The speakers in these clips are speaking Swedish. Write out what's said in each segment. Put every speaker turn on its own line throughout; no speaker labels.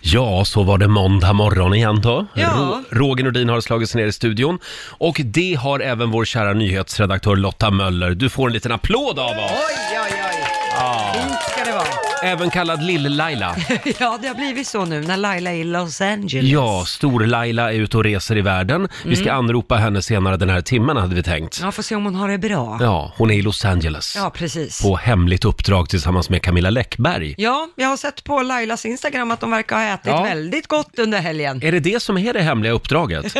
Ja, så var det måndag morgon igen då.
Ja.
Ro- Roger Nordin har slagit sig ner i studion. Och det har även vår kära nyhetsredaktör Lotta Möller. Du får en liten applåd av oss!
Oj, oj, oj. Fint ska det vara.
Även kallad Lill-Laila.
Ja, det har blivit så nu när Laila är i Los Angeles.
Ja, Stor-Laila är ute och reser i världen. Vi ska anropa henne senare den här timmen hade vi tänkt.
Mm. Ja, får se om hon har det bra.
Ja, hon är i Los Angeles.
Ja, precis.
På hemligt uppdrag tillsammans med Camilla Läckberg.
Ja, jag har sett på Lailas Instagram att de verkar ha ätit
Ja.
väldigt gott under helgen.
Är det det som är det hemliga uppdraget?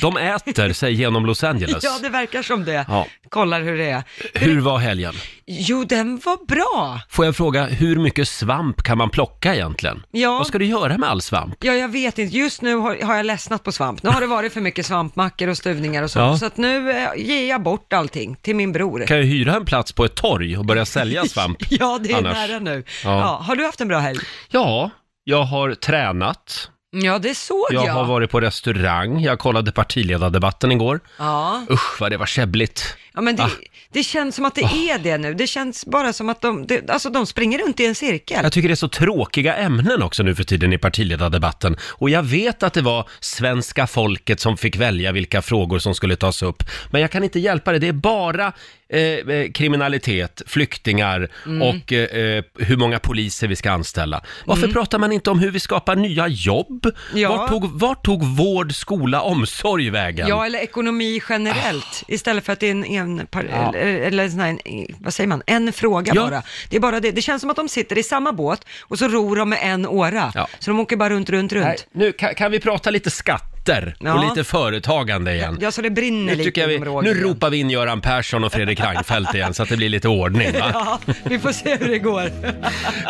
De äter sig genom Los Angeles.
Ja, det verkar som det.
Ja.
Kollar hur det är.
Hur var helgen?
Jo, den var bra.
Får jag fråga, hur mycket svamp kan man plocka egentligen?
Ja.
Vad ska du göra med all svamp?
Ja, jag vet inte. Just nu har, har jag ledsnat på svamp. Nu har det varit för mycket svampmackor och stuvningar och så.
Ja.
Så att nu eh, ger jag bort allting till min bror.
Kan jag hyra en plats på ett torg och börja sälja svamp?
Ja, det är
Annars.
nära nu.
Ja.
Ja. har du haft en bra helg?
Ja, jag har tränat,
Ja, det såg jag.
jag har varit på restaurang, jag kollade partiledardebatten igår.
Ja.
Usch vad det var käbbligt.
Ja, men det,
Ah.
det känns som att det är det nu. Det känns bara som att de, det, alltså de springer runt i en cirkel.
Jag tycker det är så tråkiga ämnen också nu för tiden i partiledardebatten. Och jag vet att det var svenska folket som fick välja vilka frågor som skulle tas upp. Men jag kan inte hjälpa det, det är bara eh, eh, kriminalitet, flyktingar
Mm.
och eh, eh, hur många poliser vi ska anställa. Varför pratar man inte om hur vi skapar nya jobb?
Mm. Ja.
Vart, tog, vart tog vård, skola, omsorg vägen?
Ja, eller ekonomi generellt, istället för att det är en, en par,
Ah. Ja.
eller, eller en sån här, en, vad säger man, en fråga
Ja.
bara. Det är bara det. Det känns som att de sitter i samma båt och så ror de med en åra.
Ja.
Så de åker bara runt, runt, runt.
Nej, nu kan, kan vi prata lite skatter och
Ja.
lite företagande igen?
Ja, så det brinner
Nu, tycker
lite
jag vi,
inom Roger
nu
igen.
ropar vi in Göran Persson och Fredrik Reinfeldt igen så att det blir lite ordning va?
Ja, vi får se hur det går.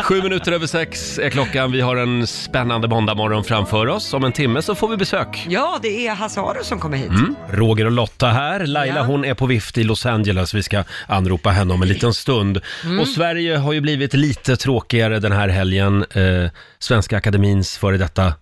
Sju minuter över sex är klockan. Vi har en spännande måndagmorgon framför oss. Om en timme så får vi besök. Mm.
Ja, det är Hasse Aro som kommer hit.
Roger och Lotta här. Laila
Ja.
hon är på vift i Los Angeles. Vi ska anropa henne om en liten stund.
Mm.
Och Sverige har ju blivit lite tråkigare den här helgen. Eh, Svenska Akademins före detta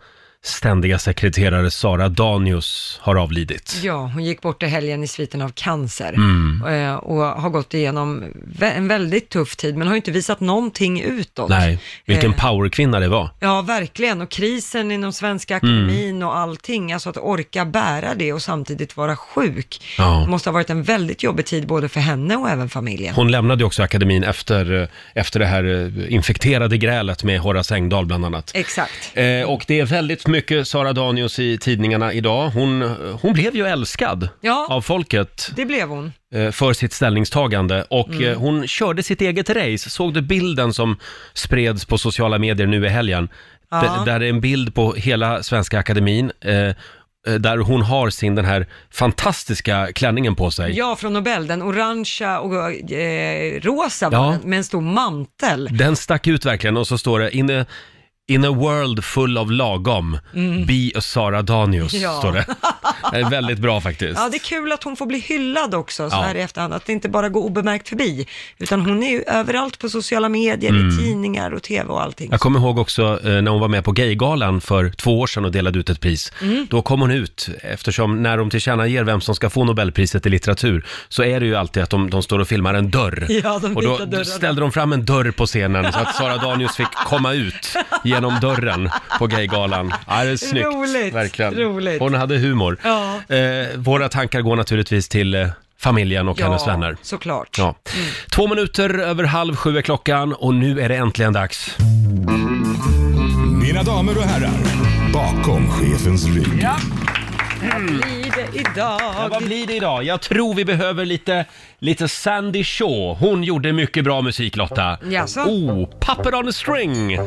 ständiga sekreterare Sara Danius har avlidit.
Ja, hon gick bort i helgen i sviten av cancer
Mm.
Eh, och har gått igenom vä- en väldigt tuff tid, men har ju inte visat någonting utåt.
Nej, vilken
Eh,
powerkvinna det var.
Ja, verkligen. Och krisen inom Svenska Akademin
Mm.
och allting, alltså att orka bära det och samtidigt vara sjuk,
Ja.
Det måste ha varit en väldigt jobbig tid både för henne och även familjen.
Hon lämnade ju också akademin efter, eh, efter det här eh, infekterade grälet med Horace Engdahl bland annat.
Exakt.
Eh, och det är väldigt mycket Sara Danius i tidningarna idag. Hon, eh, hon blev ju älskad
Ja.
av folket
Det blev hon.
eh, för sitt ställningstagande och
Mm.
eh, hon körde sitt eget race. Såg du bilden som spreds på sociala medier nu i helgen?
Ja.
D- där är en bild på hela Svenska Akademin eh, eh, där hon har sin den här fantastiska klänningen på sig.
Ja, från Nobel, den orangea och eh, rosa var
Ja.
den, med en stor mantel.
Den stack ut verkligen och så står det in a, in a world full of lagom, be a Sara Danius,
Mm. Ja.
står det. Det är väldigt bra faktiskt.
Ja, det är kul att hon får bli hyllad också så
Ja.
här i efterhand, att det inte bara går obemärkt förbi, utan hon är ju överallt på sociala medier, i tidningar och tv och allting.
Mm. Jag kommer ihåg också eh, när hon var med på Gaygalan för två år sedan och delade ut ett pris.
Mm.
Då kom hon ut, eftersom när de tillkännager vem som ska få Nobelpriset i litteratur så är det ju alltid att de, de står och filmar en dörr.
Ja, de
och då
vita dörrarna.
ställde de fram en dörr på scenen så att Sara Danius fick komma ut genom dörren på Gaygalan. Ja, det är snyggt.
Roligt,
verkligen.
roligt.
Hon hade humor.
Ja.
Eh, våra tankar går naturligtvis till eh, familjen och hennes vänner.
såklart.
Ja. Två minuter över halv sju är klockan och nu är det äntligen dags.
Mina damer och herrar, bakom chefens rygg.
Blir det
Ja, vad
idag?
blir det idag? Jag tror vi behöver lite, lite Sandy Shaw. Hon gjorde mycket bra musik Lotta.
Jaså?
Oh, Puppet on a string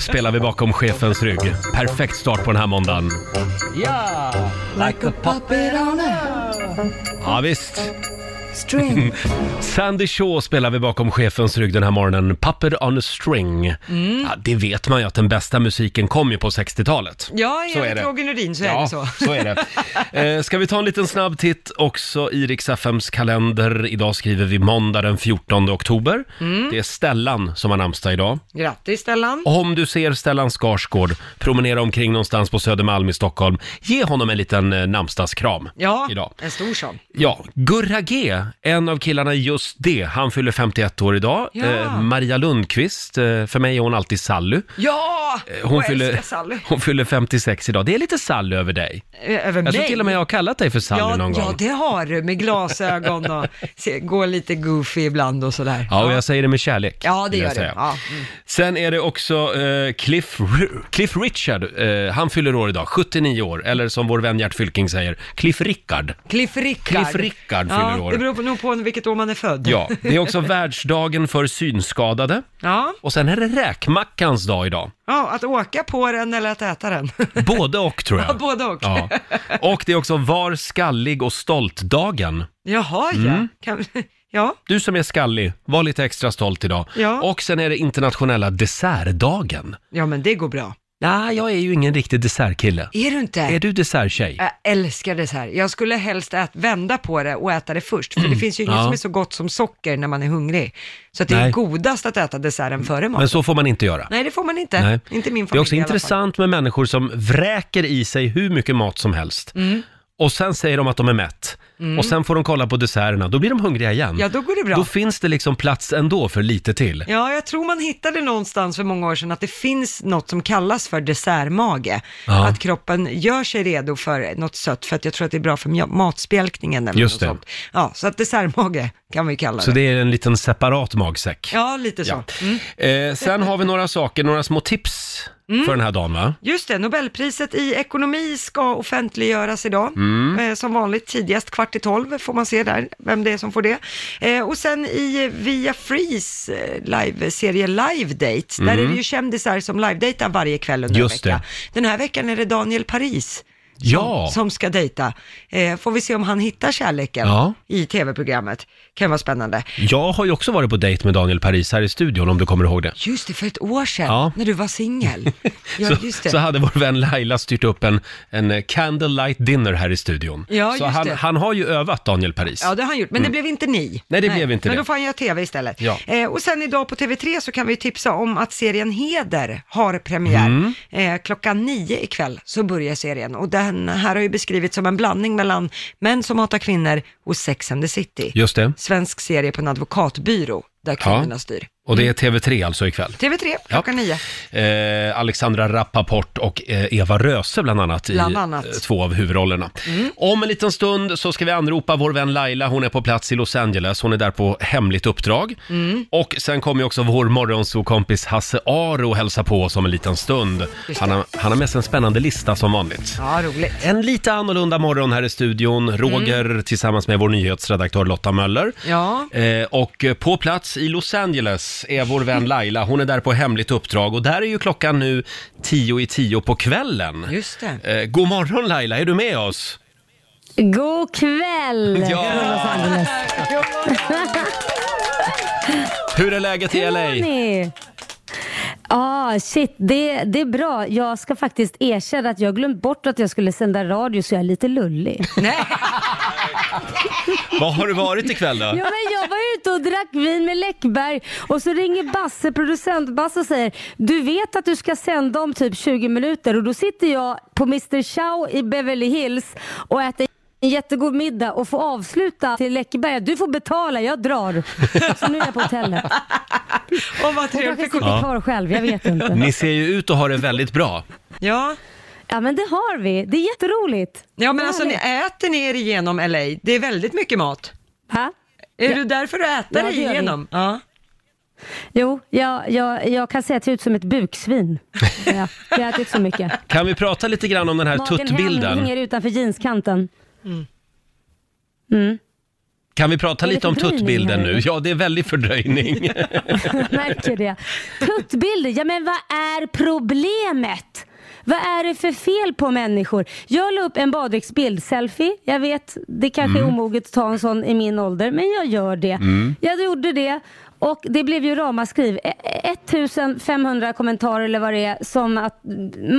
spelar vi bakom chefens rygg. Perfekt start på den här måndagen. Ja, like a puppet on Ja, visst.
String.
Sandy Shaw spelar vi bakom chefens rygg den här morgonen. Puppet on a string. Ja, det vet man ju att den bästa musiken kom ju på 60-talet.
Ja,
Så är det.
enligt Roger Nordin så är
Ja,
det så.
är det. Eh, ska vi ta en liten snabb titt också i Rix FMs kalender. Idag skriver vi måndag den 14 oktober.
Mm.
Det är Stellan som har namnsdag idag.
Grattis Stellan.
Om du ser Stellan Skarsgård promenera omkring någonstans på Södermalm i Stockholm, ge honom en liten eh, namnsdagskram
Ja,
idag.
en stor sån.
Ja, Gurra G det. En av killarna i just det, han fyller 51 år idag.
Ja.
Eh, Maria Lundqvist, eh, för mig är hon alltid Sally.
Ja!
Eh, Hon
jag
fyller,
älskar Sally.
hon fyller 56 idag. Det är lite Sally över dig.
Eh, Över
Jag
mig.
tror till och med jag har kallat dig för Sally
ja,
någon gång.
ja, det har du, med glasögon och se, går lite goofy ibland och sådär.
Ja, och jag säger det med kärlek.
Ja, det
vill jag
gör du.
säga.
Ja. Mm.
Sen är det också eh, Cliff, Ru- Cliff Richard. Eh, han fyller år idag, 79 år. Eller som vår vän Gert Fylking säger, Cliff Rickard.
Cliff Rickard.
Cliff Rickard fyller
ja,
år.
Det beror på- nog på vilket år man är född.
Ja, det är också världsdagen för synskadade.
Ja,
Och sen är det räkmackans dag idag.
ja, att åka på den eller att äta den.
Både och tror jag.
Ja, både och.
Ja. Och det är också var skallig och stolt-dagen.
Jaha, ja.
Mm.
Kan, ja.
Du som är skallig, var lite extra stolt idag.
Ja.
Och sen är det internationella dessertdagen.
ja, men det går bra.
Nej, jag är ju ingen riktig dessertkille.
Är du inte?
Är du desserttjej?
Jag älskar det här. Jag skulle helst ät, vända på det och äta det först, för det finns ju inget
Mm. Ja.
som är så gott som socker när man är hungrig. Så att det
Nej.
är godast att äta desserten före maten.
Men så får man inte göra.
Nej, det får man inte.
Nej.
Inte i min familj
Det är också
i alla fall.
intressant med människor som vräker i sig hur mycket mat som helst.
Mm.
Och sen säger de att de är mätt. Och sen får de kolla på desserterna, då blir de hungriga igen.
Ja, då går det bra.
Då finns det liksom plats ändå för lite till.
Ja, jag tror man hittade någonstans för många år sedan att det finns något som kallas för dessertmage.
Ja.
Att kroppen gör sig redo för något sött, för att jag tror att det är bra för mja- matspjälkningen eller
Just
något
det.
sånt. Ja, så att dessertmage kan vi kalla det.
Så det är en liten separat magsäck.
Ja, Mm. lite så.
Ja. Eh, sen har vi några saker, några små tips
Mm.
för den här dagen va?
Just det, Nobelpriset i ekonomi ska offentliggöras idag.
Mm.
Eh, som vanligt tidigast kvart i tolv får man se där vem det är som får det. Eh, och sen i Via Frees eh, live-serie Live Date, där är det ju kändisar som live-dejtar varje kväll under
Mm. Just
en
det.
vecka. Den här veckan är det Daniel Paris.
Ja.
Som ska dejta. Eh, får vi se om han hittar kärleken
Ja.
i tv-programmet. Kan vara spännande.
Jag har ju också varit på dejt med Daniel Paris här i studion om du kommer ihåg det.
Just det, för ett år sedan
Ja.
när du var singel. Ja, just
så,
det.
så hade vår vän Laila styrt upp en, en candlelight dinner här i studion.
Ja,
så
just
han,
det.
han har ju övat Daniel Paris.
Ja, det har han gjort, men det blev inte ni.
Mm. Nej, det blev inte
men
det.
då får han göra tv istället.
Ja.
Eh, och sen idag på TV3 så kan vi tipsa om att serien Heder har premiär.
Mm.
Eh, klockan nio ikväll så börjar serien och den här har ju beskrivits som en blandning mellan Män som hatar kvinnor och Sex and the City.
Just det.
Svensk serie på en advokatbyrå där kvinnorna styr.
Och det är TV3 alltså ikväll.
TV3 klockan nio.
Eh, Alexandra Rappaport och eh, Eva Röse bland annat i
Bland annat. Mm.
eh, två av huvudrollerna. Om en liten stund så ska vi anropa vår vän Laila. Hon är på plats i Los Angeles. Hon är där på hemligt uppdrag.
Mm.
Och sen kommer ju också vår morgonsokompis Hasse Aro hälsa på oss om en liten stund.
Just det.
Han har, han har med sig en spännande lista som vanligt.
Ja, roligt.
En lite annorlunda morgon här i
Mm.
studion. Roger tillsammans med vår nyhetsredaktör Lotta Möller.
Ja.
Eh, och eh, på plats i Los Angeles är vår vän Laila. Hon är där på hemligt uppdrag och där är ju klockan nu tio i tio på kvällen.
Just det.
Eh, god morgon Laila, är du med oss?
God kväll! från Los Angeles.
Hur är läget i
Hur
LA?
mår ni? Ah, shit, det, det är bra. Jag ska faktiskt erkänna att jag glömt bort att jag skulle sända radio så jag är lite lullig.
Nej,
Var har du varit ikväll då?
Ja, men jag var ute och drack vin med Läckberg och så ringer Basse, producent Basse och säger du vet att du ska sända om typ 20 minuter och då sitter jag på Mr Chow i Beverly Hills och äter en jättegod middag och får avsluta till Läckberg du får betala, jag drar. Så nu är jag på hotellet.
och vad
Jag kanske
trevligt.
sitter kvar själv, jag vet inte.
Ni ser ju ut att ha det väldigt bra.
Ja.
Ja men det har vi, det är jätteroligt.
ja, men alltså ni
Härligt.
äter ner igenom LA. Det är väldigt mycket mat.
Ha?
Är du därför du äter
Ja,
dig
det gör vi.
igenom? Ja.
Jo, jag, jag, jag kan säga att jag ser ut som ett buksvin. Ja, jag har ätit så mycket.
Kan vi prata lite grann om den här
Magen
tuttbilden?
hänger utanför jeanskanten.
Kan vi prata
Är det
lite om
fördröjning
tuttbilden
här
nu?
nu?
Ja, det är väldigt fördröjning.
Jag märker det. Tuttbilder, ja men vad är problemet? Vad är det för fel på människor? Jag la upp en baddräktsbild, selfie. Jag vet, det kanske är omoget att ta en sån i min ålder, men jag gör det. Jag gjorde det och det blev ju ramaskriv. E- 1500 kommentarer eller vad det är, som att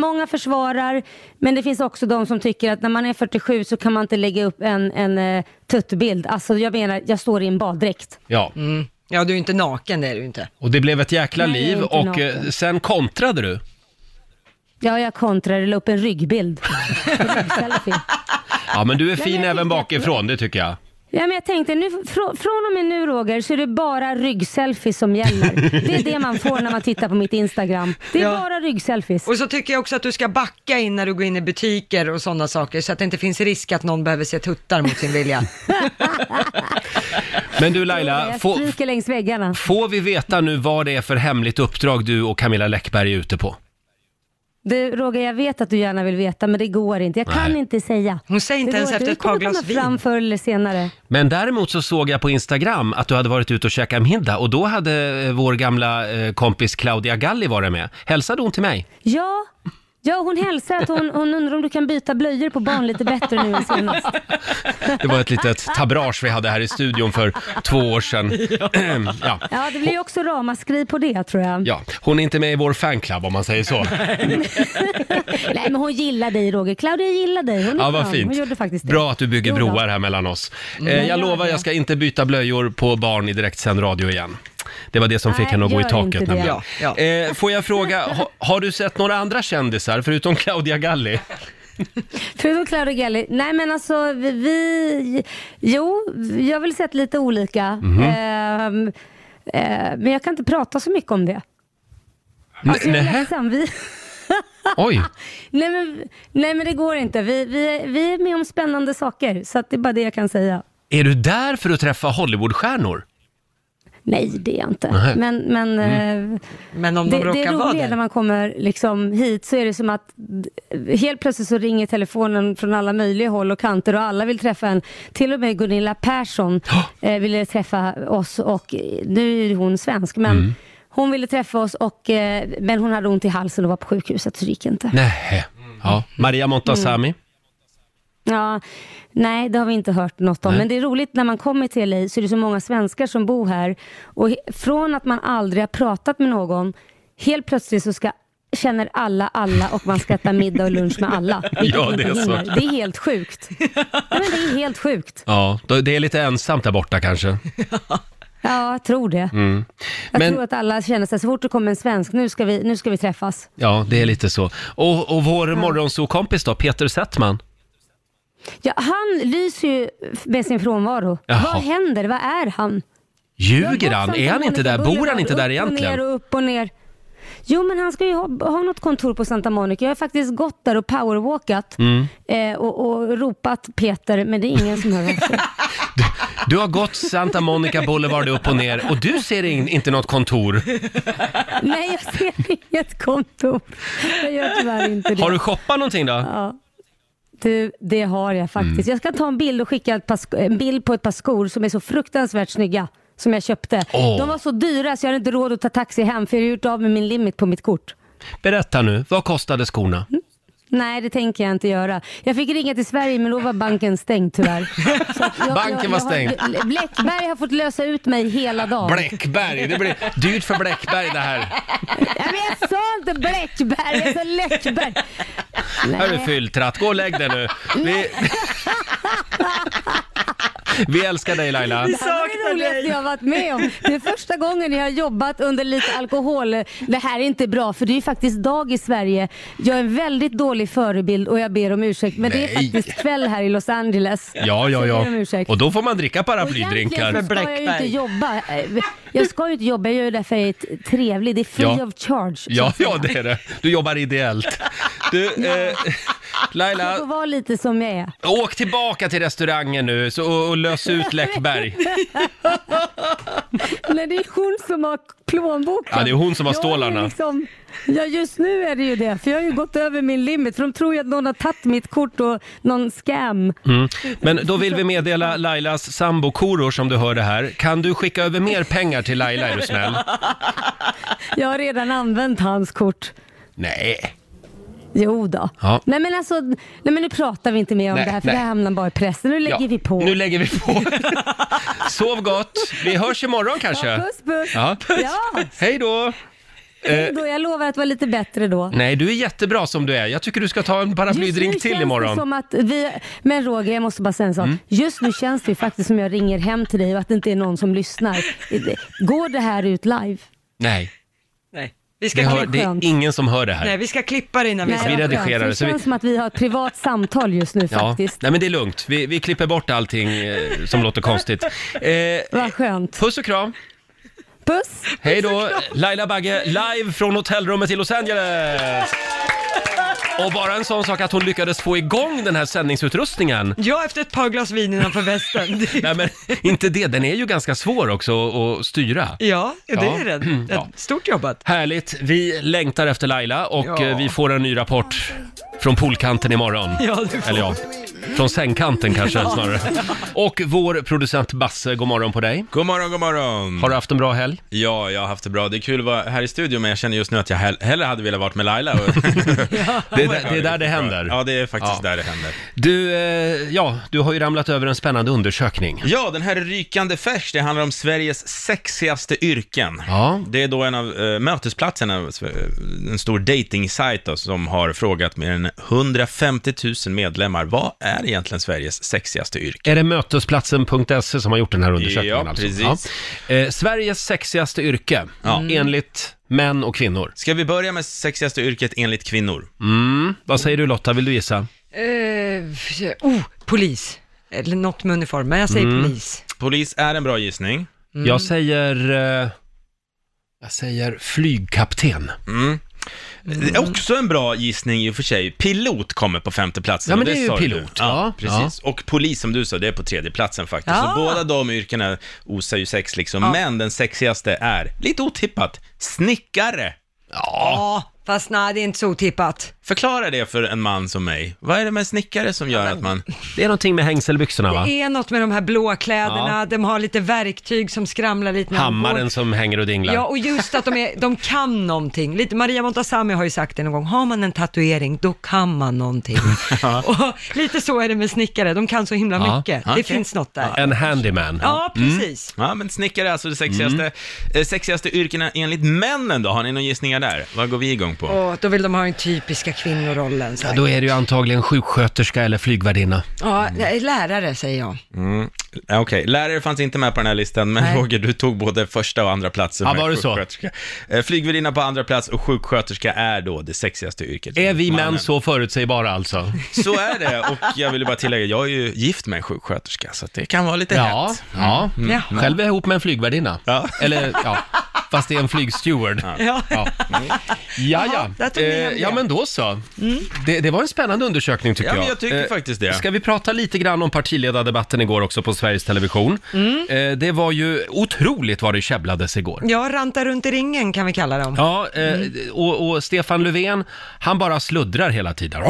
många försvarar, men det finns också de som tycker att när man är 47 så kan man inte lägga upp en, en eh, tuttbild. Alltså jag menar, jag står i en baddräkt.
Ja,
Mm. Ja, du är ju inte naken, det är du ju inte.
och det blev ett jäkla
Nej, jag är
liv
inte
och
naken.
eh, sen kontrade du.
Ja, jag kontrade, la upp en ryggbild. En Ryggselfie.
Ja, men du är fin
jag
även
tyckte att-
bakifrån, det tycker jag.
Ja, men jag tänkte, nu, frå, från och med nu Roger så är det bara ryggselfies som gäller. Det är det man får när man tittar på mitt Instagram. Det är
Ja.
bara ryggselfies.
Och så tycker jag också att du ska backa in när du går in i butiker och sådana saker så att det inte finns risk att någon behöver se tuttar mot sin vilja.
Men du
Jag
Laila, få,
stryker längs väggarna.
får vi veta nu vad det är för hemligt uppdrag du och Camilla Läckberg är ute på?
Du Roger, jag vet att du gärna vill veta men det går inte. Jag kan
Nej.
inte säga.
Hon säger inte
Det
ens
går
efter
Det
ett par
kommer
glas
komma fram
vin.
förr eller senare.
Men däremot så såg jag på Instagram att du hade varit ute och käkat middag och då hade eh, vår gamla eh, kompis Claudia Galli varit med. Hälsade hon till mig?
Ja, ja hon hälsar att hon, hon undrar om du kan byta blöjor på barn lite bättre nu än senast.
Det var ett litet tabrage vi hade här i studion för två år sedan. Ja.
Ja, det blir ju också ramaskri på det tror jag.
Ja, hon är inte med i vår fanclub om man säger så.
Nej, men hon gillar dig Roger. Claudia gillar dig. Hon är
Ja, vad
skön. Hon gjorde faktiskt
fint.
det.
Bra att du bygger
Jo då. Mm.
broar här mellan oss. Eh, jag
gör
lovar,
det.
jag ska inte byta blöjor på barn i direktsänd radio igen. Det var det som fick
Nej,
henne att gå i
gör inte
taket
det.
nämligen.
Ja, ja.
Eh, får jag fråga, ha, har du sett några andra kändisar förutom Claudia Galli?
Förutom Claudia Gelli. Nej men alltså vi, vi jo, jag har väl sett lite olika.
Mhm.
Ehm, eh, men jag kan inte prata så mycket om det. Alltså, jag är
Nähä?
ledsen. Vi,
Oj,
nej, men, nej men det går inte. Vi, vi, vi är med om spännande saker så att det är bara det jag kan säga.
är du där för att träffa Hollywoodstjärnor?
Nej det är jag inte.
Nähä. Mm.
Men, men eh,
Men om
det,
de
det
råkar vara
roliga när
där.
man kommer liksom hit så är det som att d- helt plötsligt så ringer telefonen från alla möjliga håll och kanter och alla vill träffa en. Till och med Gunilla Persson eh, ville träffa oss och eh, nu är hon svensk men
Mm.
hon ville träffa oss och, eh, men hon hade ont i halsen och var på sjukhuset så det gick inte.
Nej. Ja. Maria Montazami?
Mm. Ja, nej, det har vi inte hört något om.
Nej.
Men det är roligt när man kommer till LA så är det så många svenskar som bor här. Och he- från att man aldrig har pratat med någon, helt plötsligt så ska känner alla alla och man ska äta middag och lunch med alla. vilket
Ja, det
inte
är så.
hinner. Det är helt sjukt. Nej, men det är helt sjukt.
Ja, då- det är lite ensamt där borta kanske.
Ja, jag tror det. Jag
Mm. Men-
tror att alla känner sig så fort det kommer en svensk, nu ska vi, nu ska vi träffas.
Ja, det är lite så. Och, och vår morgonsokompis då, Peter Settman?
Ja, han lyser ju med sin frånvaro.
Jaha.
Vad händer? Vad är han?
Ljuger
Jag har
han?
gått
Är han
Santa
inte där?
Monica
Bor han
Boulevard
inte där
Upp och
egentligen?
ner och upp och ner. Jo, men han ska ju ha, ha något kontor på Santa Monica. Jag har faktiskt gått där och powerwalkat
Mm.
eh, och, och ropat Peter, men det är ingen som hör av sig.
Du har gått Santa Monica Boulevard upp och ner och du ser in, inte något kontor.
Nej, jag ser inget kontor. Jag gör tyvärr inte det.
Har du shoppat någonting då?
Du, det har jag faktiskt.
Mm.
Jag ska ta en bild och skicka ett par, sk- en bild på ett par skor som är så fruktansvärt snygga som jag köpte.
Åh.
De var så dyra så jag hade inte råd att ta taxi hem för jag har gjort av med min limit på mitt kort.
Berätta nu, vad kostade skorna?
Nej, det tänker jag inte göra. Jag fick ringa till Sverige men då var banken stängd tyvärr. Så att jag-
Banken var stängd.
Har, Bläckberg har fått lösa ut mig hela dagen.
Bläckberg, det blir dyrt för Bläckberg det här.
Nej, men jag sa inte Bläckberg, jag sa Läckberg.
Hörru
Nej.
fylltratt, gå och lägg dig nu. Vi... Vi älskar dig Laila.
Det här var det
Saknar
roligaste
dig.
jag har varit med om. Det är första gången jag har jobbat under lite alkohol. Det här är inte bra för det är ju faktiskt dag i Sverige. Jag är en väldigt dålig förebild och jag ber om ursäkt men det är
Nej.
faktiskt kväll här i Los Angeles.
Ja, ja,
Så jag
ja.
ber om ursäkt.
Och då får man dricka
Och egentligen
paraplydrinkar.
så ska jag ju inte jobba. Jag ska ju inte jobba, jag gör det för att jag är trevlig. Det är free
Ja.
of charge. så
Ja,
att säga.
ja det är det. Du jobbar ideellt. Du, eh,
Jag får
Laila,
vara lite som jag är.
åk tillbaka till restaurangen nu så, och, och lös ut Läckberg.
Nej, det är hon som har plånboken.
Ja, det är hon som har
Jag är
stålarna.
Liksom, ja, just nu är det ju det. För jag har ju gått över min limit. För de tror ju att någon har tagit mitt kort och någon scam.
Mm. Men då vill vi meddela Lailas sambo Korosh som du hör det här. Kan du skicka över mer pengar till Laila är du snäll?
Jag har redan använt hans kort.
Nej.
Jo då.
Ja.
Nej men alltså, nej men nu pratar vi inte mer om
Nej,
det här för
nej.
det här hamnar bara i pressen. Nu lägger
Ja,
vi på.
Nu lägger vi på. Sov gott. Vi hörs imorgon kanske.
ja, puss puss.
Ja.
Ja,
Hej då!
då, jag lovar att vara lite bättre då.
Nej, du är jättebra som du är. Jag tycker du ska ta en
Just nu
paraplydrink
känns
till
Det
imorgon. Mm.
som att vi, men Roger, jag måste bara säga en sak. Just nu känns det ju faktiskt som jag ringer hem till dig och att det inte är någon som lyssnar. Går det här ut live?
Nej.
Nej, Vi ska
Det, hör, det är
skönt.
ingen som hör det här.
Nej, vi ska klippa det innan vi
Nej,
vi
vad
sänder.
skönt.
redigerar det,
det.
så vi-
känns som att vi har ett privat samtal just nu
Ja,
faktiskt.
nej men det är lugnt. Vi, vi klipper bort allting eh, som låter konstigt. Eh,
Vad skönt.
puss och kram.
Puss!
Hej då, Laila Bagge, live från hotellrummet i Los Angeles. Och bara en sån sak att hon lyckades få igång den här sändningsutrustningen.
Ja, efter ett par glas vin innanför västen. Det-
Nej men inte det, den är ju ganska svår också att- att styra.
Ja, det
Ja.
är det.
Ja.
Ett Stort jobbat.
Härligt, vi längtar efter Laila och
Ja.
eh, vi får en ny rapport från poolkanten imorgon.
Ja, det får
Eller ja, från sängkanten kanske snarare. Och vår producent Basse, god morgon på dig.
God morgon, god morgon.
Har du haft en bra helg?
Ja, jag har haft det bra. Det är kul att vara här i studion, men jag känner just nu att jag hell- hellre hade velat varit med Laila. Och...
Det är, där- det är där det händer.
Ja, det är faktiskt
Ja.
där det händer.
Du, eh, ja, du har ju ramlat över en spännande undersökning.
Ja, den här är rykande färs. Det handlar om Sveriges sexigaste yrken.
Ja.
Det är då en av eh, mötesplatserna, eh, en stor dating-sajt då, som har frågat mer än 150 000 medlemmar, vad är egentligen Sveriges sexigaste yrke?
Är det mötesplatsen.se E som har gjort den här undersökningen?
Ja,
alltså?
precis.
Ja. Eh, Sveriges sexigaste yrke, Mm. enligt män och kvinnor.
Ska vi börja med sexigaste yrket enligt kvinnor?
Mm. Vad säger du Lotta, vill du gissa?
Eh, oh, polis. Eller något med uniform, men jag säger
Mm.
polis.
Polis är en bra gissning.
Mm.
Jag säger... Eh, jag säger flygkapten.
Det
Mm.
är också en bra gissning i och för sig. Pilot kommer på femte platsen.
Ja, men
och
det är ju
sa du.
pilot. Ja, Ah.
Ja, precis. Och polis som du sa, det är på tredje platsen faktiskt.
Ja.
Så båda de yrkena osar ju sex liksom. Men den sexigaste är, lite otippat, snickare.
Ja, fast nej, det är inte så otippat.
Förklara det för en man som mig. Vad är det med snickare som gör att man...
Det är någonting med hängselbyxorna va?
Det är något med de här blåa kläderna, de har lite verktyg som skramlar lite när de går.
Hammaren som hänger och dinglar.
Ja, och just att de, är, de kan någonting. Lite, Maria Montazami har ju sagt det någon gång, har man en tatuering, då kan man någonting. och lite så är det med snickare, de kan så himla
Ja,
mycket. Det
okej.
finns något där. Ja,
En handyman. Mm.
precis.
Ja, men snickare är alltså det sexigaste, eh, sexigaste yrkena enligt männen då. Har ni några gissningar där? Vad går vi igång på?
Och då vill de ha den typiska kvinnorollen. Så
Ja,
här.
då är det ju antagligen sjuksköterska eller flygvärdinna.
Ja, nej, lärare säger jag.
Ja, Okej, lärare fanns inte med på den här listan, men
Nej.
Roger, du tog både första och andra platsen.
Ja,
med
var det så?
sjuksköterska. Eh, Flygvärdinna på andra plats och sjuksköterska är då det sexigaste yrket.
Är vi
Mannen.
män så förutsägbara alltså?
Så är det, och jag ville bara tillägga, jag är ju gift med en sjuksköterska, så att det kan vara lite
Ja,
hett.
ja.
Ja.
Själv är jag ihop med en flygvärdinna.
Mm. Ja.
Eller ja, fast det är en flygsteward.
Ja.
Ja, ja.
Jaha, där
ja.
tog ni hem
Eh,
det.
ja men då så. Det, det var en spännande undersökning tycker
Ja,
jag. Eh,
men jag tycker faktiskt det.
Ska vi prata lite grann om partiledardebatten igår också på Sveriges Television. Eh, det var ju otroligt vad det käbblades igår.
Ja, ranta runt i ringen kan vi kalla dem.
Ja, eh, och, och Stefan Löfven, han bara sluddrar hela tiden.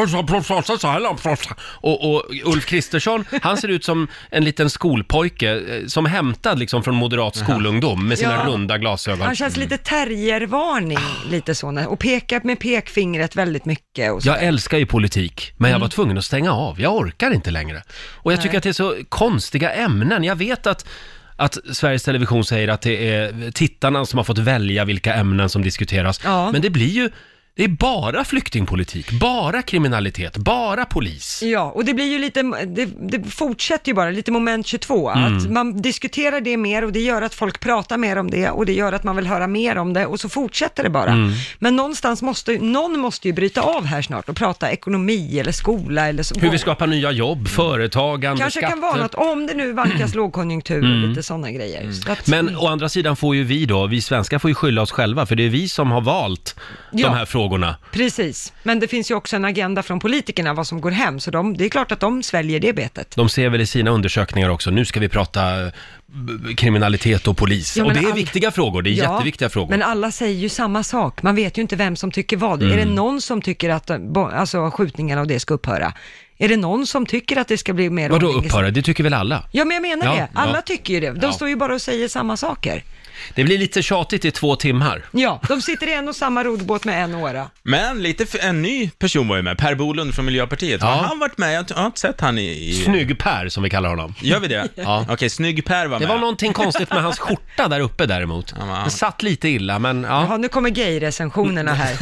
Och, och Ulf Kristersson, han ser ut som en liten skolpojke eh, som hämtad liksom från moderat skolungdom med sina
Ja.
runda glasögon.
Han känns lite terriervarning,
Ah.
lite så, när- och pekar med pekfingret väldigt mycket. Och så.
Jag älskar ju politik, men jag
Mm.
var tvungen att stänga av. Jag orkar inte längre. Och jag tycker att det är så konstiga ämnen. Jag vet att att Sveriges Television säger att det är tittarna som har fått välja vilka ämnen som diskuteras.
Ja.
Men det blir ju, det är bara flyktingpolitik, bara kriminalitet, bara polis.
Ja, och det blir ju lite, det, det fortsätter ju bara, lite moment 22, att
Mm.
man diskuterar det mer och det gör att folk pratar mer om det och det gör att man vill höra mer om det och så fortsätter det bara.
Mm.
Men någonstans måste, någon måste ju bryta av här snart och prata ekonomi eller skola eller så.
Hur vi skapar nya jobb, företagande,
Kanske
skatter. Mm.
kan vara något, om det nu vankas lågkonjunktur och lite sådana grejer. Så att,
Men å andra sidan får ju vi då, vi svenskar får ju skylla oss själva för det är vi som har valt
Ja.
de här frågorna.
Precis, men det finns ju också en agenda från politikerna vad som går hem, så de, det är klart att de sväljer det betet.
De ser väl i sina undersökningar också, nu ska vi prata eh, b- kriminalitet och polis.
Ja,
och
men
det är
all-
viktiga frågor, det är jätteviktiga frågor.
Men alla säger ju samma sak. Man vet ju inte vem som tycker vad. Är
Mm.
det någon som tycker att eh, bo- alltså, skjutningarna och det ska upphöra? Är det någon som tycker att det ska bli mer
Vadå
ordning i-
upphöra? Det tycker väl alla?
Ja, men jag menar
Ja,
det. Alla
ja.
tycker ju det. De
Ja.
står ju bara och säger samma saker.
Det blir lite tjatigt i två timmar.
Ja, de sitter i en och samma roddbåt med en åra.
Men lite, f- en ny person var ju med, Per Bolund från Miljöpartiet.
Ja.
Har han varit med? Jag t- jag har inte sett han i... i...
Snygg-Per som vi kallar honom.
Gör vi det?
Ja.
Okej, snygg-Per var
Det
med.
var någonting konstigt med hans skjorta där uppe däremot.
men-
Den satt lite illa men ja. Mm.
Jaha, nu kommer gay-recensionerna här.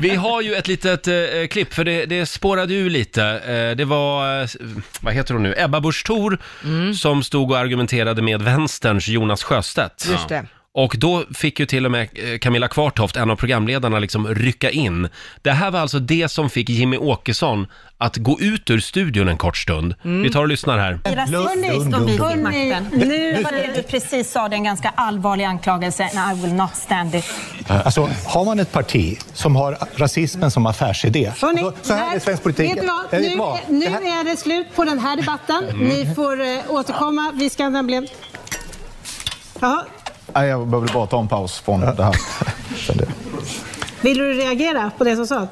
Vi har ju ett litet eh, klipp, för det, det spårade ju lite. Eh, det var, eh, vad heter hon nu,
Mm.
Ebba Busch Thor som stod och argumenterade med vänsterns Jonas Sjöstedt.
Just det.
Och då fick ju till och med eh, Camilla Kvartoft, en av programledarna, liksom rycka in. Det här var alltså det som fick Jimmy Åkesson att gå ut ur studion en kort stund. Vi tar och lyssnar här.
Hörni, nu var det du precis sa, det är en ganska allvarlig anklagelse. And I will not stand it.
Eh,
Alltså, har man ett parti som har rasismen som affärsidé,
Hörrni,
alltså, så här är svensk politik.
Vet ni vad?
Det är
Nu,
ett val.
nu
Det här- Mm.
är det slut på den här debatten. Ni får eh, återkomma. Vi ska nämligen... Jaha,
Nej, jag behöver bara ta en paus från det här. Sen det-
vill du reagera på det som sades?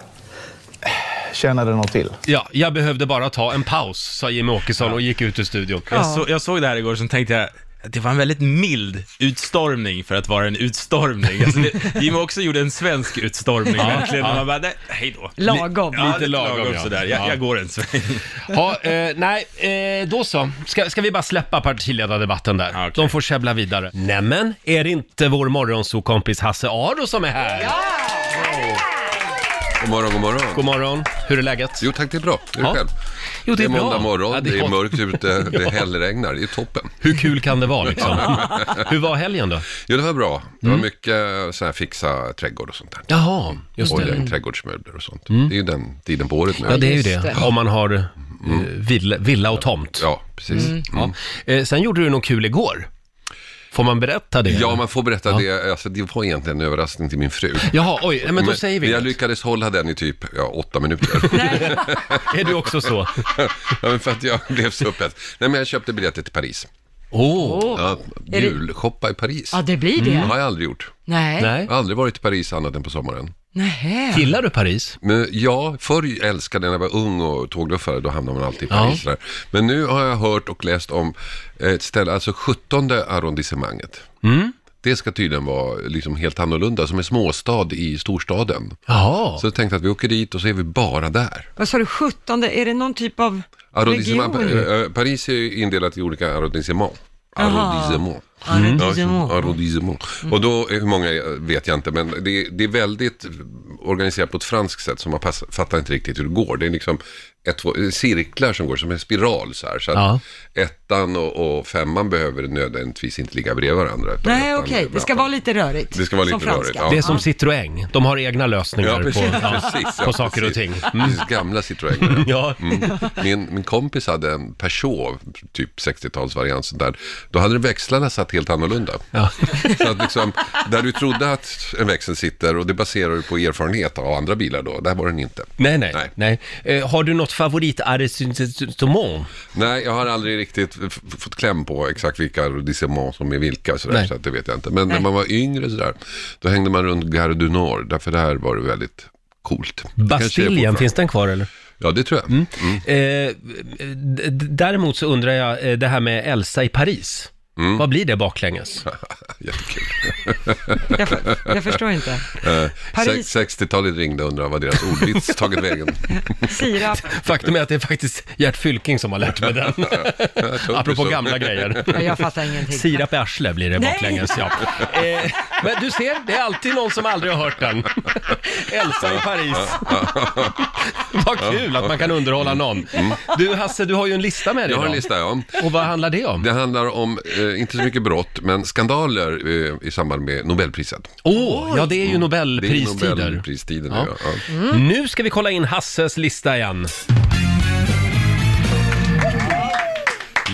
Tjänar det något till?
Ja, jag behövde bara ta en paus, sa Jimmy Åkesson och gick ut ur studion.
Jag, så, jag såg det här igår, så tänkte jag att det var en väldigt mild utstormning för att vara en utstormning. Alltså det, Jimmy också gjorde en svensk utstormning verkligen. Och Man bara, nej, hej då.
Lagom.
Ja, lite
Lite lagom,
lagom,
ja.
sådär.
Ja.
Jag, jag går en sväng.
Ja, eh, nej, eh, då så. Ska, ska vi bara släppa partiledardebatten där?
Okej.
De får käbbla vidare. Nämen, är det inte vår morgonsokompis Hasse Aro som är här?
God morgon, god morgon.
God morgon, hur är läget?
Jo tack, det är bra. Det är
Ja.
själv.
Jo, det är bra.
måndag morgon,
Ja, det
det,
är
är
gott.
mörkt ute, det hällregnar. Det är toppen.
Hur kul kan det vara liksom? hur var helgen då?
Jo, det var bra. Det
Mm.
var mycket så här fixa trädgård och sånt där.
Jaha, just
Olja
det. Mm.
in trädgårdsmöbler och sånt. Det är ju den tiden på året nu.
Ja, det är ju
Just
det.
det.
Om man har eh, villa, villa och tomt.
Mm. Ja, Mm. precis.
Ja. Eh, sen gjorde du något kul igår. Får man berätta det?
Ja, man får berätta det. Alltså, det var egentligen en överraskning till min fru.
Jaha, oj, nej, men då säger vi
jag
det.
lyckades hålla den i typ ja, åtta minuter.
Är du också så?
ja, men för att jag blev så upphetsad. Nej, men jag köpte biljetter till Paris.
Åh, oh,
Ja,
det-
julshoppa i Paris.
Ja, det blir det.
Det har jag aldrig gjort.
Nej.
Mm. nej.
Jag har aldrig varit i Paris annat än på sommaren.
Nej.
Gillar du Paris?
Men ja, förr älskade jag när jag var ung och tågluffare, då hamnade man alltid i Paris.
Ja.
sådär. Men nu har jag hört och läst om ett ställe, alltså 17 arrondissemanget. Det ska tydligen vara liksom helt annorlunda, som en småstad i storstaden.
Jaha.
Så jag tänkte att vi åker dit och så är vi bara där.
Vad sa du, 17? Är det någon typ av
Arrondissement,
region?
eh, Paris är ju indelat i olika arrondissement.
Jaha.
Arrondissement.
Arrondissement. Mm.
Ja, arrondissement. Och då, hur många är, vet jag inte, men det, det är väldigt organiserat på ett franskt sätt som man pass, fattar inte riktigt hur det går. Det är liksom ett, två, cirklar som går som en spiral så här. Så att
Ja.
ettan och, och femman behöver nödvändigtvis inte ligga bredvid varandra. utan
Nej,
ettan-
okej. Det ska vara lite rörigt.
Det ska vara lite
Som franska.
rörigt. Ja.
Det är som Citroën, de har egna lösningar
Ja, precis.
på, ja,
precis, ja,
på saker och ting.
precis. Precis, Gamla Citroën.
Ja,
Mm. Min, min kompis hade en Peugeot, typ 60-talsvariant sånt där. Då hade växlarna satt helt annorlunda.
Ja.
Så att liksom, där du trodde att en växel sitter och det baserar du på erfarenhet av andra bilar då, där var den inte.
nej, nej. nej.
Nej.
Eh, har du något favoritarrestissement?
Nej, jag har aldrig riktigt f- f- fått kläm på exakt vilka arrondissement som är vilka, sådär,
Nej.
så att det vet jag inte. Men när man var yngre sådär, då hängde man runt Gare du Nord, därför där var det väldigt coolt. Det kanske är
Bastiljen,
fortfarande.
finns den kvar eller?
Ja, det tror jag. Mm.
Eh, d- d- däremot så undrar jag, eh, det här med Elsa i Paris.
Mm.
Vad blir det baklänges?
Jättekul.
Jag, för, jag förstår inte.
Eh,
Paris.
sex- 60-talet ringde och undrade vad deras ordvits tagit vägen.
Sirap.
Faktum är att det är faktiskt Gert Fylking som har lärt mig den.
det
Apropå
så.
gamla grejer.
Ja, Jag fattar ingenting.
Sirap i arsle blir det
Nej.
baklänges, ja. Eh, men du ser, det är alltid någon som aldrig har hört den. Elsa i Paris. Vad kul att man kan underhålla någon. Du Hasse, du har ju en lista med dig
Mm. Jag har en
idag.
lista, ja.
Och vad handlar det om?
Det handlar om, eh, inte så mycket brott, men skandaler eh, i samband med Nobelpriset.
Åh, ja det är ju
Mm. Det är ju
Nobelpristider.
Nobelpristider nu,
Ja.
ja. ja.
Nu ska vi kolla in Hasses lista igen.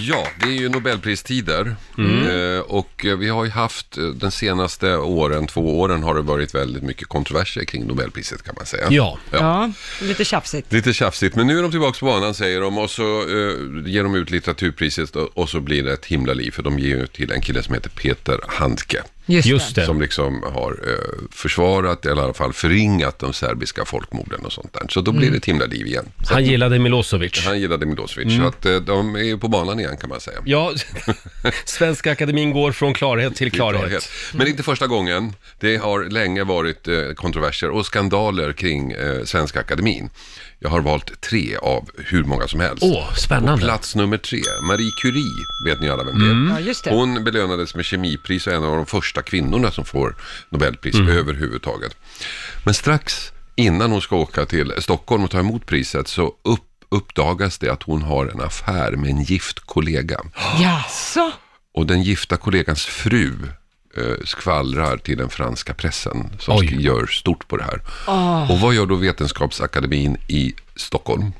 Ja, det är ju Nobelpristider. Eh, och eh, vi har ju haft, eh, den senaste åren, två åren, har det varit väldigt mycket kontroverser kring Nobelpriset kan man säga.
Ja.
Ja, lite tjafsigt.
Lite tjafsigt, men nu är de tillbaka på banan säger de och så eh, ger de ut litteraturpriset och, och så blir det ett himla liv för de ger ju till en kille som heter Peter Handke.
Just,
Just det.
Som liksom har eh, försvarat, eller i alla fall förringat de serbiska folkmorden och sånt där. Så då blir det ett himla liv igen. Så
Mm. Han gillade Milosevic.
han gillade Milosevic, så att eh, de är ju på banan igen kan man säga.
Ja, Svenska Akademin går från klarhet till klarhet. Mm.
Men det är inte första gången. Det har länge varit eh, kontroverser och skandaler kring eh, Svenska Akademin. Jag har valt tre av hur många som helst.
Åh, spännande.
Och plats nummer tre, Marie Curie, vet ni alla vem det är.
Ja, just det.
Hon belönades med kemipris och är en av de första kvinnorna som får Nobelpris överhuvudtaget. Men strax innan hon ska åka till Stockholm och ta emot priset så upp, uppdagas det att hon har en affär med en gift kollega.
Jaså?
Och den gifta kollegans fru eh, skvallrar till den franska pressen som
Oj.
sk- gör stort på det här.
Ah.
Och vad gör då Vetenskapsakademin i Stockholm?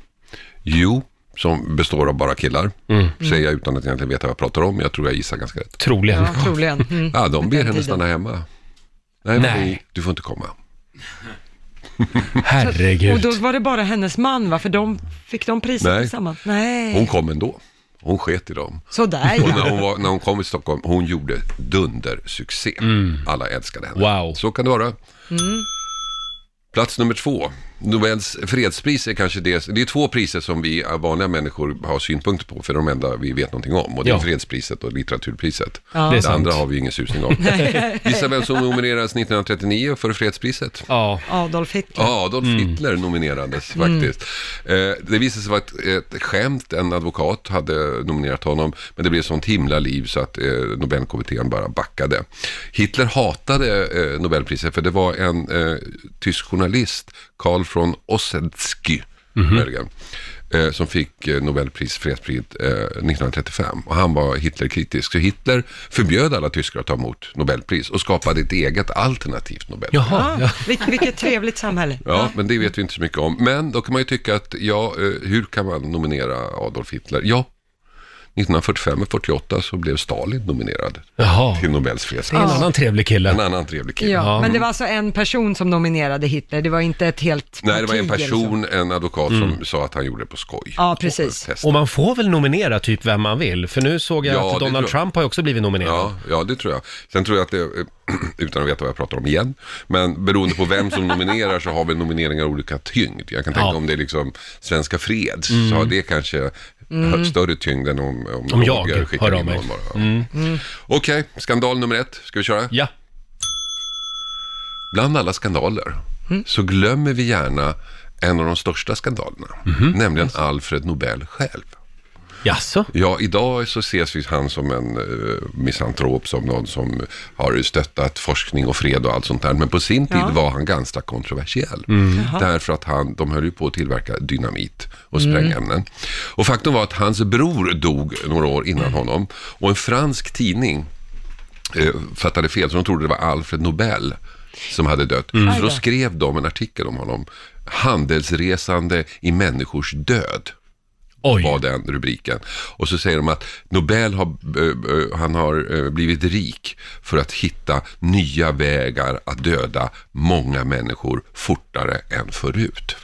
Jo, som består av bara killar,
Mm.
säger jag utan att egentligen veta vad jag pratar om. Jag tror jag gissar ganska rätt.
Troligen.
Ja, troligen. Mm.
Ja, de ber
Den
henne
tiden.
stanna hemma. Nej,
Nej.
Men vi, du får inte komma.
Och då var det bara hennes man va? För de, fick de priset
Nej. Oh.
tillsammans? Nej.
Hon kom ändå. Hon sket i dem.
Sådär
Och när,
ja.
hon var, när hon kom till Stockholm, hon gjorde dundersuccé.
Mm.
Alla älskade henne. Wow. Så kan det vara.
Mm.
Plats nummer två. Nobels fredspris är kanske det, det är två priser som vi vanliga människor har synpunkter på, för de enda vi vet någonting om. Och det är
Ja.
fredspriset och litteraturpriset.
Ja. Det är
Det,
sant.
andra har vi ingen susning om.
Nej.
Gissa vem som nominerades 1939 för fredspriset?
Ja.
Adolf Hitler.
Ja, Adolf Hitler nominerades
Mm.
faktiskt. Eh, det visade sig vara ett, ett skämt, en advokat hade nominerat honom, men det blev sånt himla liv så att eh, Nobelkommittén bara backade. Hitler hatade eh, Nobelpriset för det var en eh, tysk journalist, Karl von Ossetsky,
Mhm.
möjligen, eh, som fick eh, Nobelpris, fredspris eh, 1935 och han var Hitlerkritisk. Så Hitler förbjöd alla tyskar att ta emot Nobelpris och skapade ett eget alternativt Nobelpris.
Ja, vil- vilket trevligt samhälle.
Ja, men det vet vi inte så mycket om. Men då kan man ju tycka att, ja, eh, hur kan man nominera Adolf Hitler? Ja, 1945 och 48 så blev Stalin nominerad till Nobels fredspris.
Det är en annan trevlig kille.
En annan trevlig
Ja,
kille.
men det var alltså en person som nominerade Hitler, det var inte ett helt
Nej, det var en
parti liksom. eller så.
person, en advokat som sa att han gjorde det på skoj.
Mm. Ja, precis.
Och man får väl nominera typ vem man vill, för nu såg jag
Ja, det
att Donald
tror jag.
Trump har ju också blivit nominerad.
Ja, ja, det tror jag. Sen tror jag att det, eh, utan att veta vad jag pratar om igen, men beroende på vem som nominerar så har vi nomineringar av olika tyngd. Jag kan tänka
Ja.
om det är liksom Svenska Freds, så
Mm.
har det kanske
Mm.
större tyngd än om, om,
Om jag
Roger skickar
hör
in
av mig.
någon bara. Ja.
Mm.
Okej, skandal nummer ett. Ska vi köra?
Ja.
Bland alla skandaler
Mm.
så glömmer vi gärna en av de största skandalerna,
Mhm.
nämligen Alfred Nobel själv.
Jaså?
Ja, idag så ses vi han som en uh, misantrop, som någon som har stöttat forskning och fred och allt sånt där. Men på sin tid
Ja.
var han ganska kontroversiell.
Mm. Jaha.
Därför att han, de höll ju på att tillverka dynamit och
Mm.
sprängämnen. Och faktum var att hans bror dog några år
Mm.
innan honom. Och en fransk tidning eh, fattade fel, så de trodde det var Alfred Nobel som hade dött.
Mm.
Så då
Aj då.
skrev de en artikel om honom. Handelsresande i människors död. Var den rubriken. Och så säger de att Nobel har, eh, eh, han har eh, blivit rik för att hitta nya vägar att döda många människor fortare än förut.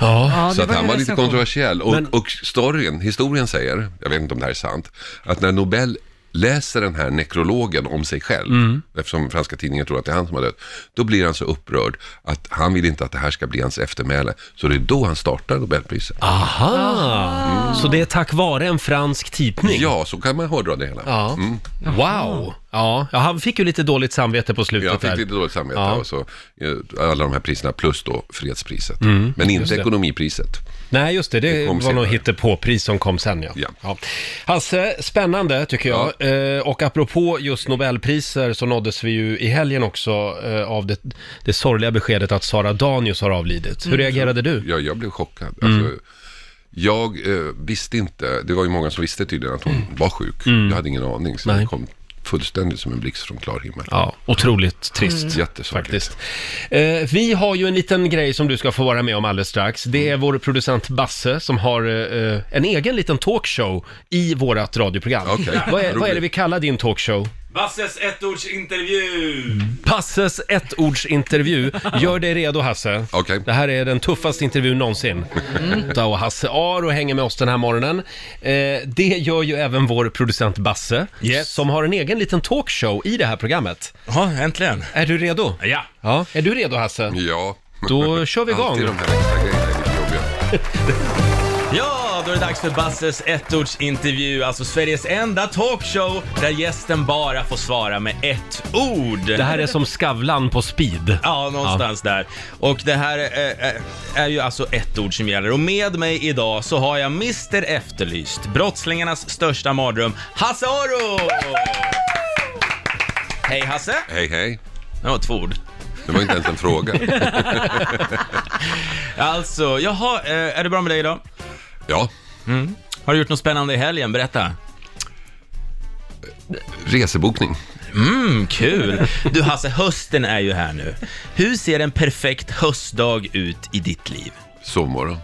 Ja.
Så att han var lite kontroversiell. Och,
Men-
och storyn, historien säger, jag vet inte om det här är sant, att när Nobel läser den här nekrologen om sig själv,
Mm.
eftersom franska tidningen tror att det är han som har dött, då blir han så upprörd att han vill inte att det här ska bli hans eftermäle. Så det är då han startar Nobelpriset.
Aha! Så det är tack vare en fransk tidning?
Mm. Ja, Mm. så kan man hårdra det hela.
Ja. Wow! Ja. ja, han fick ju lite dåligt samvete på slutet
Jag
där.
fick lite dåligt samvete
Ja.
och så eh, alla de här priserna plus då fredspriset.
Mm,
Men
just
inte
det.
ekonomipriset.
Nej, just det. Det,
Det kom
var nog
senare.
hittepåpris som kom sen, ja. ja. Hasse, spännande tycker jag. Eh, och apropå just Nobelpriser så nåddes vi ju i helgen också eh, av det, det sorgliga beskedet att Sara Danius har avlidit. Hur
Mm.
reagerade du?
Ja, jag blev chockad.
Mm.
Alltså, jag eh, visste inte, det var ju många som visste tydligen att hon var sjuk.
Mm.
Jag hade ingen aning, så
Nej.
det kom fullständigt som en blixt från klar himmel.
Ja, otroligt trist.
Mm. Jättesorgligt.
Eh, vi har ju en liten grej som du ska få vara med om alldeles strax. Det är vår producent Basse som har eh, en egen liten talkshow i vårat radioprogram.
Okej,
Vad, är, vad är det
roligt.
vi kallar din talkshow?
Basses ettordsintervju!
Mm. Passes ettordsintervju. Gör dig redo Hasse. Det här är den tuffaste intervjun någonsin. Lotta och Hasse Aro hänger med oss den här morgonen. Eh, det gör ju även vår producent Basse, som har en egen liten talkshow i det här programmet.
Ja, äntligen.
Är du redo?
Ja.
ja. Är du redo Hasse?
Ja.
Då kör vi igång.
Alltid de här extra grejerna är lite jobbiga.
Ja, då är det dags för Basses ettordsintervju, alltså Sveriges enda talkshow där gästen bara får svara med ett ord.
Det här är som Skavlan på speed.
Ja, någonstans där. Och det här eh, eh, är ju alltså ett ord som gäller. Och med mig idag så har jag Mr Efterlyst, brottslingarnas största mardröm, Hasse Aro! Hej Hasse!
Hej, hej.
Det var två ord.
Det var inte ens en fråga.
Alltså, jaha, eh, är det bra med dig idag?
Ja.
Mm. Har du gjort något spännande i helgen? Berätta.
Resebokning.
Mm, kul! Du Hasse, hösten är ju här nu. Hur ser en perfekt höstdag ut i ditt liv?
Sovmorgon.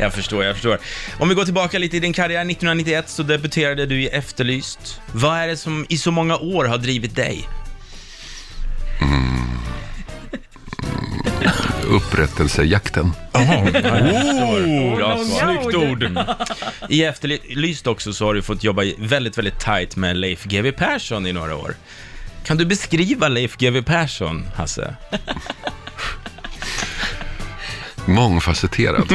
jag förstår, jag förstår. Om vi går tillbaka lite i din karriär, 1991 så debuterade du i Efterlyst. Vad är det som i så många år har drivit dig?
Upprättelsejakten.
Oh, bra
någon
svar.
snyggt ord.
Mm. I Efterlyst också så har du fått jobba väldigt, väldigt tight med Leif GW Persson i några år. Kan du beskriva Leif GW Persson, Hasse?
Mångfacetterad.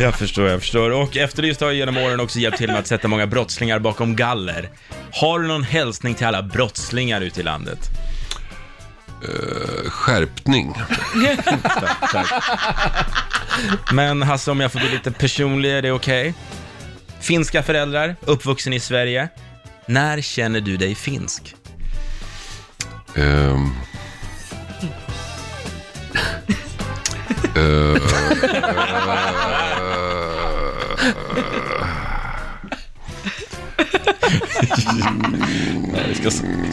Jag förstår, jag förstår. Och Efterlyst har genom åren också hjälpt till med att sätta många brottslingar bakom galler. Har du någon hälsning till alla brottslingar ute i landet?
skärpning.
tack, tack. Men Hasse, om jag får bli lite personlig, är det okej? Finska föräldrar, uppvuxen i Sverige. När känner du dig finsk?
Ehm. Eh,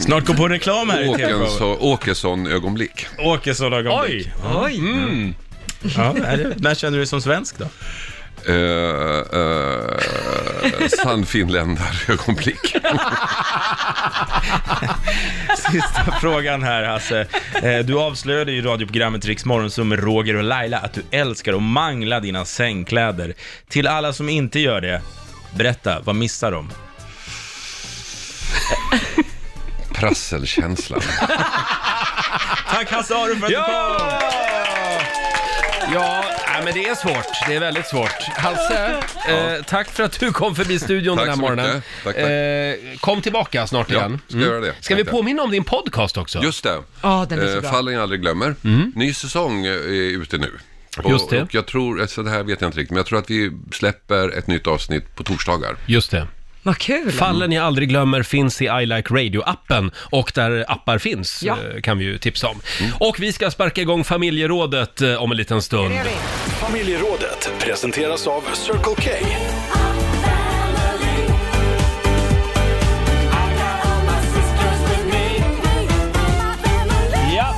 Snart går på reklam här i
Åkesson, Åkesson-ögonblick.
Åkesson-ögonblick.
Oj.
Mm. Ja, är det, när känner du dig som svensk då?
Uh, uh, sann finländare-ögonblick.
Sista frågan här Hasse. Eh, Du avslöjade ju i radioprogrammet Riks Morgonzoo med Roger och Laila att du älskar att mangla dina sängkläder. Till alla som inte gör det, berätta, vad missar de?
Prasselkänslan.
Tack Hasse Aro för att du kom!
Ja, nej, men det är svårt. Det är väldigt svårt. Hasse, eh, tack för att du kom förbi studion
Tack
den här
så
morgonen.
mycket. Tack, tack.
Eh, kom tillbaka snart
Ja,
igen. Mm.
ska göra det.
Ska vi
Tack, tack.
påminna om din podcast också?
Just det.
Ja, den är så
Eh,
bra.
Fallen jag aldrig glömmer. Ny säsong eh, är ute nu. Och,
Mm. Just det.
Och jag tror, alltså det här vet jag inte riktigt, men jag tror att vi släpper ett nytt avsnitt på torsdagar.
Just det.
Vad kul!
Mm.
Fallen jag aldrig glömmer finns i I Like Radio-appen och där appar finns
Ja.
eh, kan vi ju tipsa om.
Mm.
Och vi ska sparka igång familjerådet eh, om en liten stund.
Familjerådet presenteras av Circle K.
Ja.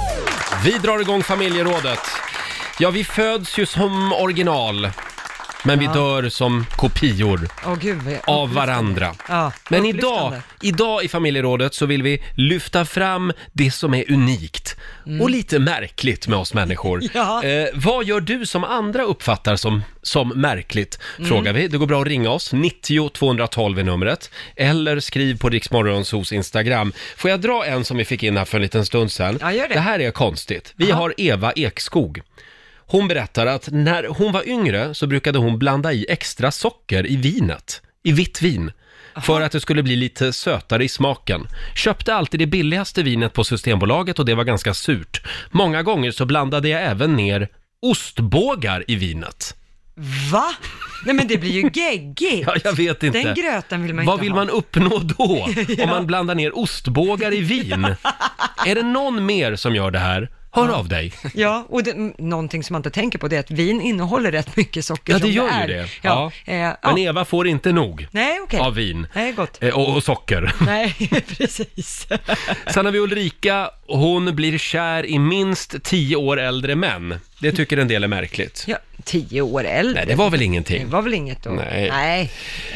Vi drar igång familjerådet. Ja, vi föds ju som original, men
Ja.
vi dör som kopior
Åh gud, vad jag-
av varandra.
Ja,
Men idag,
upplyftande.
idag i familjerådet så vill vi lyfta fram det som är unikt och lite märkligt med oss människor.
Mm. Ja.
Eh, vad gör du som andra uppfattar som, som märkligt?
Mm.
Frågar vi. Det går bra att ringa oss, 90 212 är numret. Eller skriv på Riksmorgonsos Instagram. Får jag dra en som vi fick in här för en liten stund sedan? Ja, gör det. det här är konstigt. Vi har Eva Ekskog. Hon berättar att när hon var yngre så brukade hon blanda i extra socker i vinet, i vitt vin. För att det skulle bli lite sötare i smaken. Köpte alltid det billigaste vinet på Systembolaget och det var ganska surt. Många gånger så blandade jag även ner ostbågar i vinet.
Va? Nej men det blir ju geggigt.
Ja, jag vet inte.
Den gröten vill man
Vad
inte
vill
ha.
man uppnå då?
Ja.
Om man blandar ner ostbågar i vin? Är det någon mer som gör det här? Hör av dig.
Ja, och det, m- någonting som man inte tänker på det är att vin innehåller rätt mycket socker.
Ja, det
som
gör ju
är.
det.
Ja.
Ja.
Eh, ja.
Men Eva får inte nog
Nej, okej.
av vin.
Nej, gott.
Eh, Och, och socker.
Nej, precis.
Sen har vi Ulrika, hon blir kär i minst tio år äldre män. Det tycker en del är märkligt.
Ja, tio år äldre.
Nej, det var väl ingenting.
Det var väl inget då?
Nej.
Nej,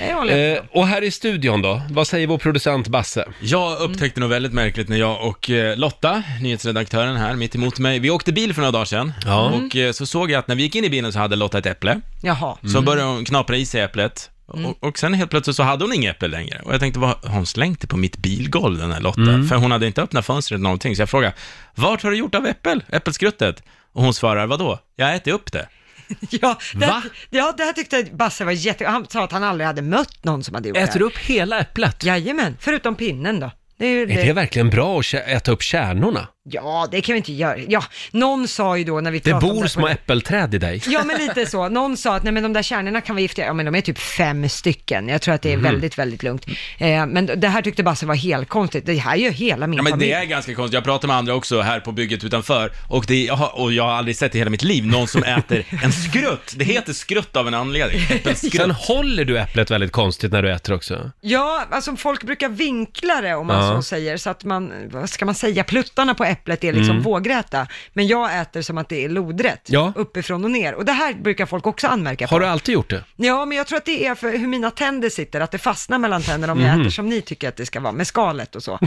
det håller jag med
Eh, och här i studion då, vad säger vår producent Basse?
Jag upptäckte något väldigt märkligt när jag och eh, Lotta, nyhetsredaktören här mitt emot mig, vi åkte bil för några dagar sedan
Ja. Mm.
och eh, så såg jag att när vi gick in i bilen så hade Lotta ett äpple.
Jaha.
Så började hon knapra i sig äpplet
Mm.
och, och sen helt plötsligt så hade hon inget äpple längre. Och jag tänkte, vad, har hon slängt det på mitt bilgolv den här Lotta?
Mm.
För hon hade inte öppnat fönstret eller någonting. Så jag frågade, vart har du gjort av äppel, äppelskruttet? Och hon svarar, vadå? Jag äter upp det.
Ja, det, här- ja, det här tyckte Basse var jätte... Han sa att han aldrig hade mött någon som hade gjort
Äter
det
du upp hela äpplet?
Jajamän, förutom pinnen då. Det är ju
Är
det.
det verkligen bra att kä- äta upp kärnorna?
Ja, det kan vi inte göra. Ja, någon sa ju då när vi
Det
pratade om
bor
här
små
på-
äppelträd i dig.
Ja, men lite så. Någon sa att nej, men de där kärnorna kan vara giftiga. Ja, men de är typ fem stycken. Jag tror att det är
Mhm.
väldigt, väldigt lugnt. Eh, men det här tyckte Basse var helt konstigt. Det här gör hela min
Ja, men det
familj.
är ganska konstigt, jag pratar med andra också här på bygget utanför och, det, jag har, och jag har aldrig sett i hela mitt liv någon som äter en skrutt. Det heter skrutt av en anledning. Äppelskrutt.
Sen håller du äpplet väldigt konstigt när du äter också.
Ja, alltså folk brukar vinkla det om man
Ja.
så säger, så att man, vad ska man säga, pluttarna på äpplet är liksom
Mm.
vågräta, men jag äter som att det är lodrätt,
Ja.
uppifrån och ner. Och det här brukar folk också anmärka på.
Har du alltid gjort det?
Ja, men jag tror att det är för hur mina tänder sitter, att det fastnar mellan tänderna om jag
Mhm.
äter som ni tycker att det ska vara, med skalet och så.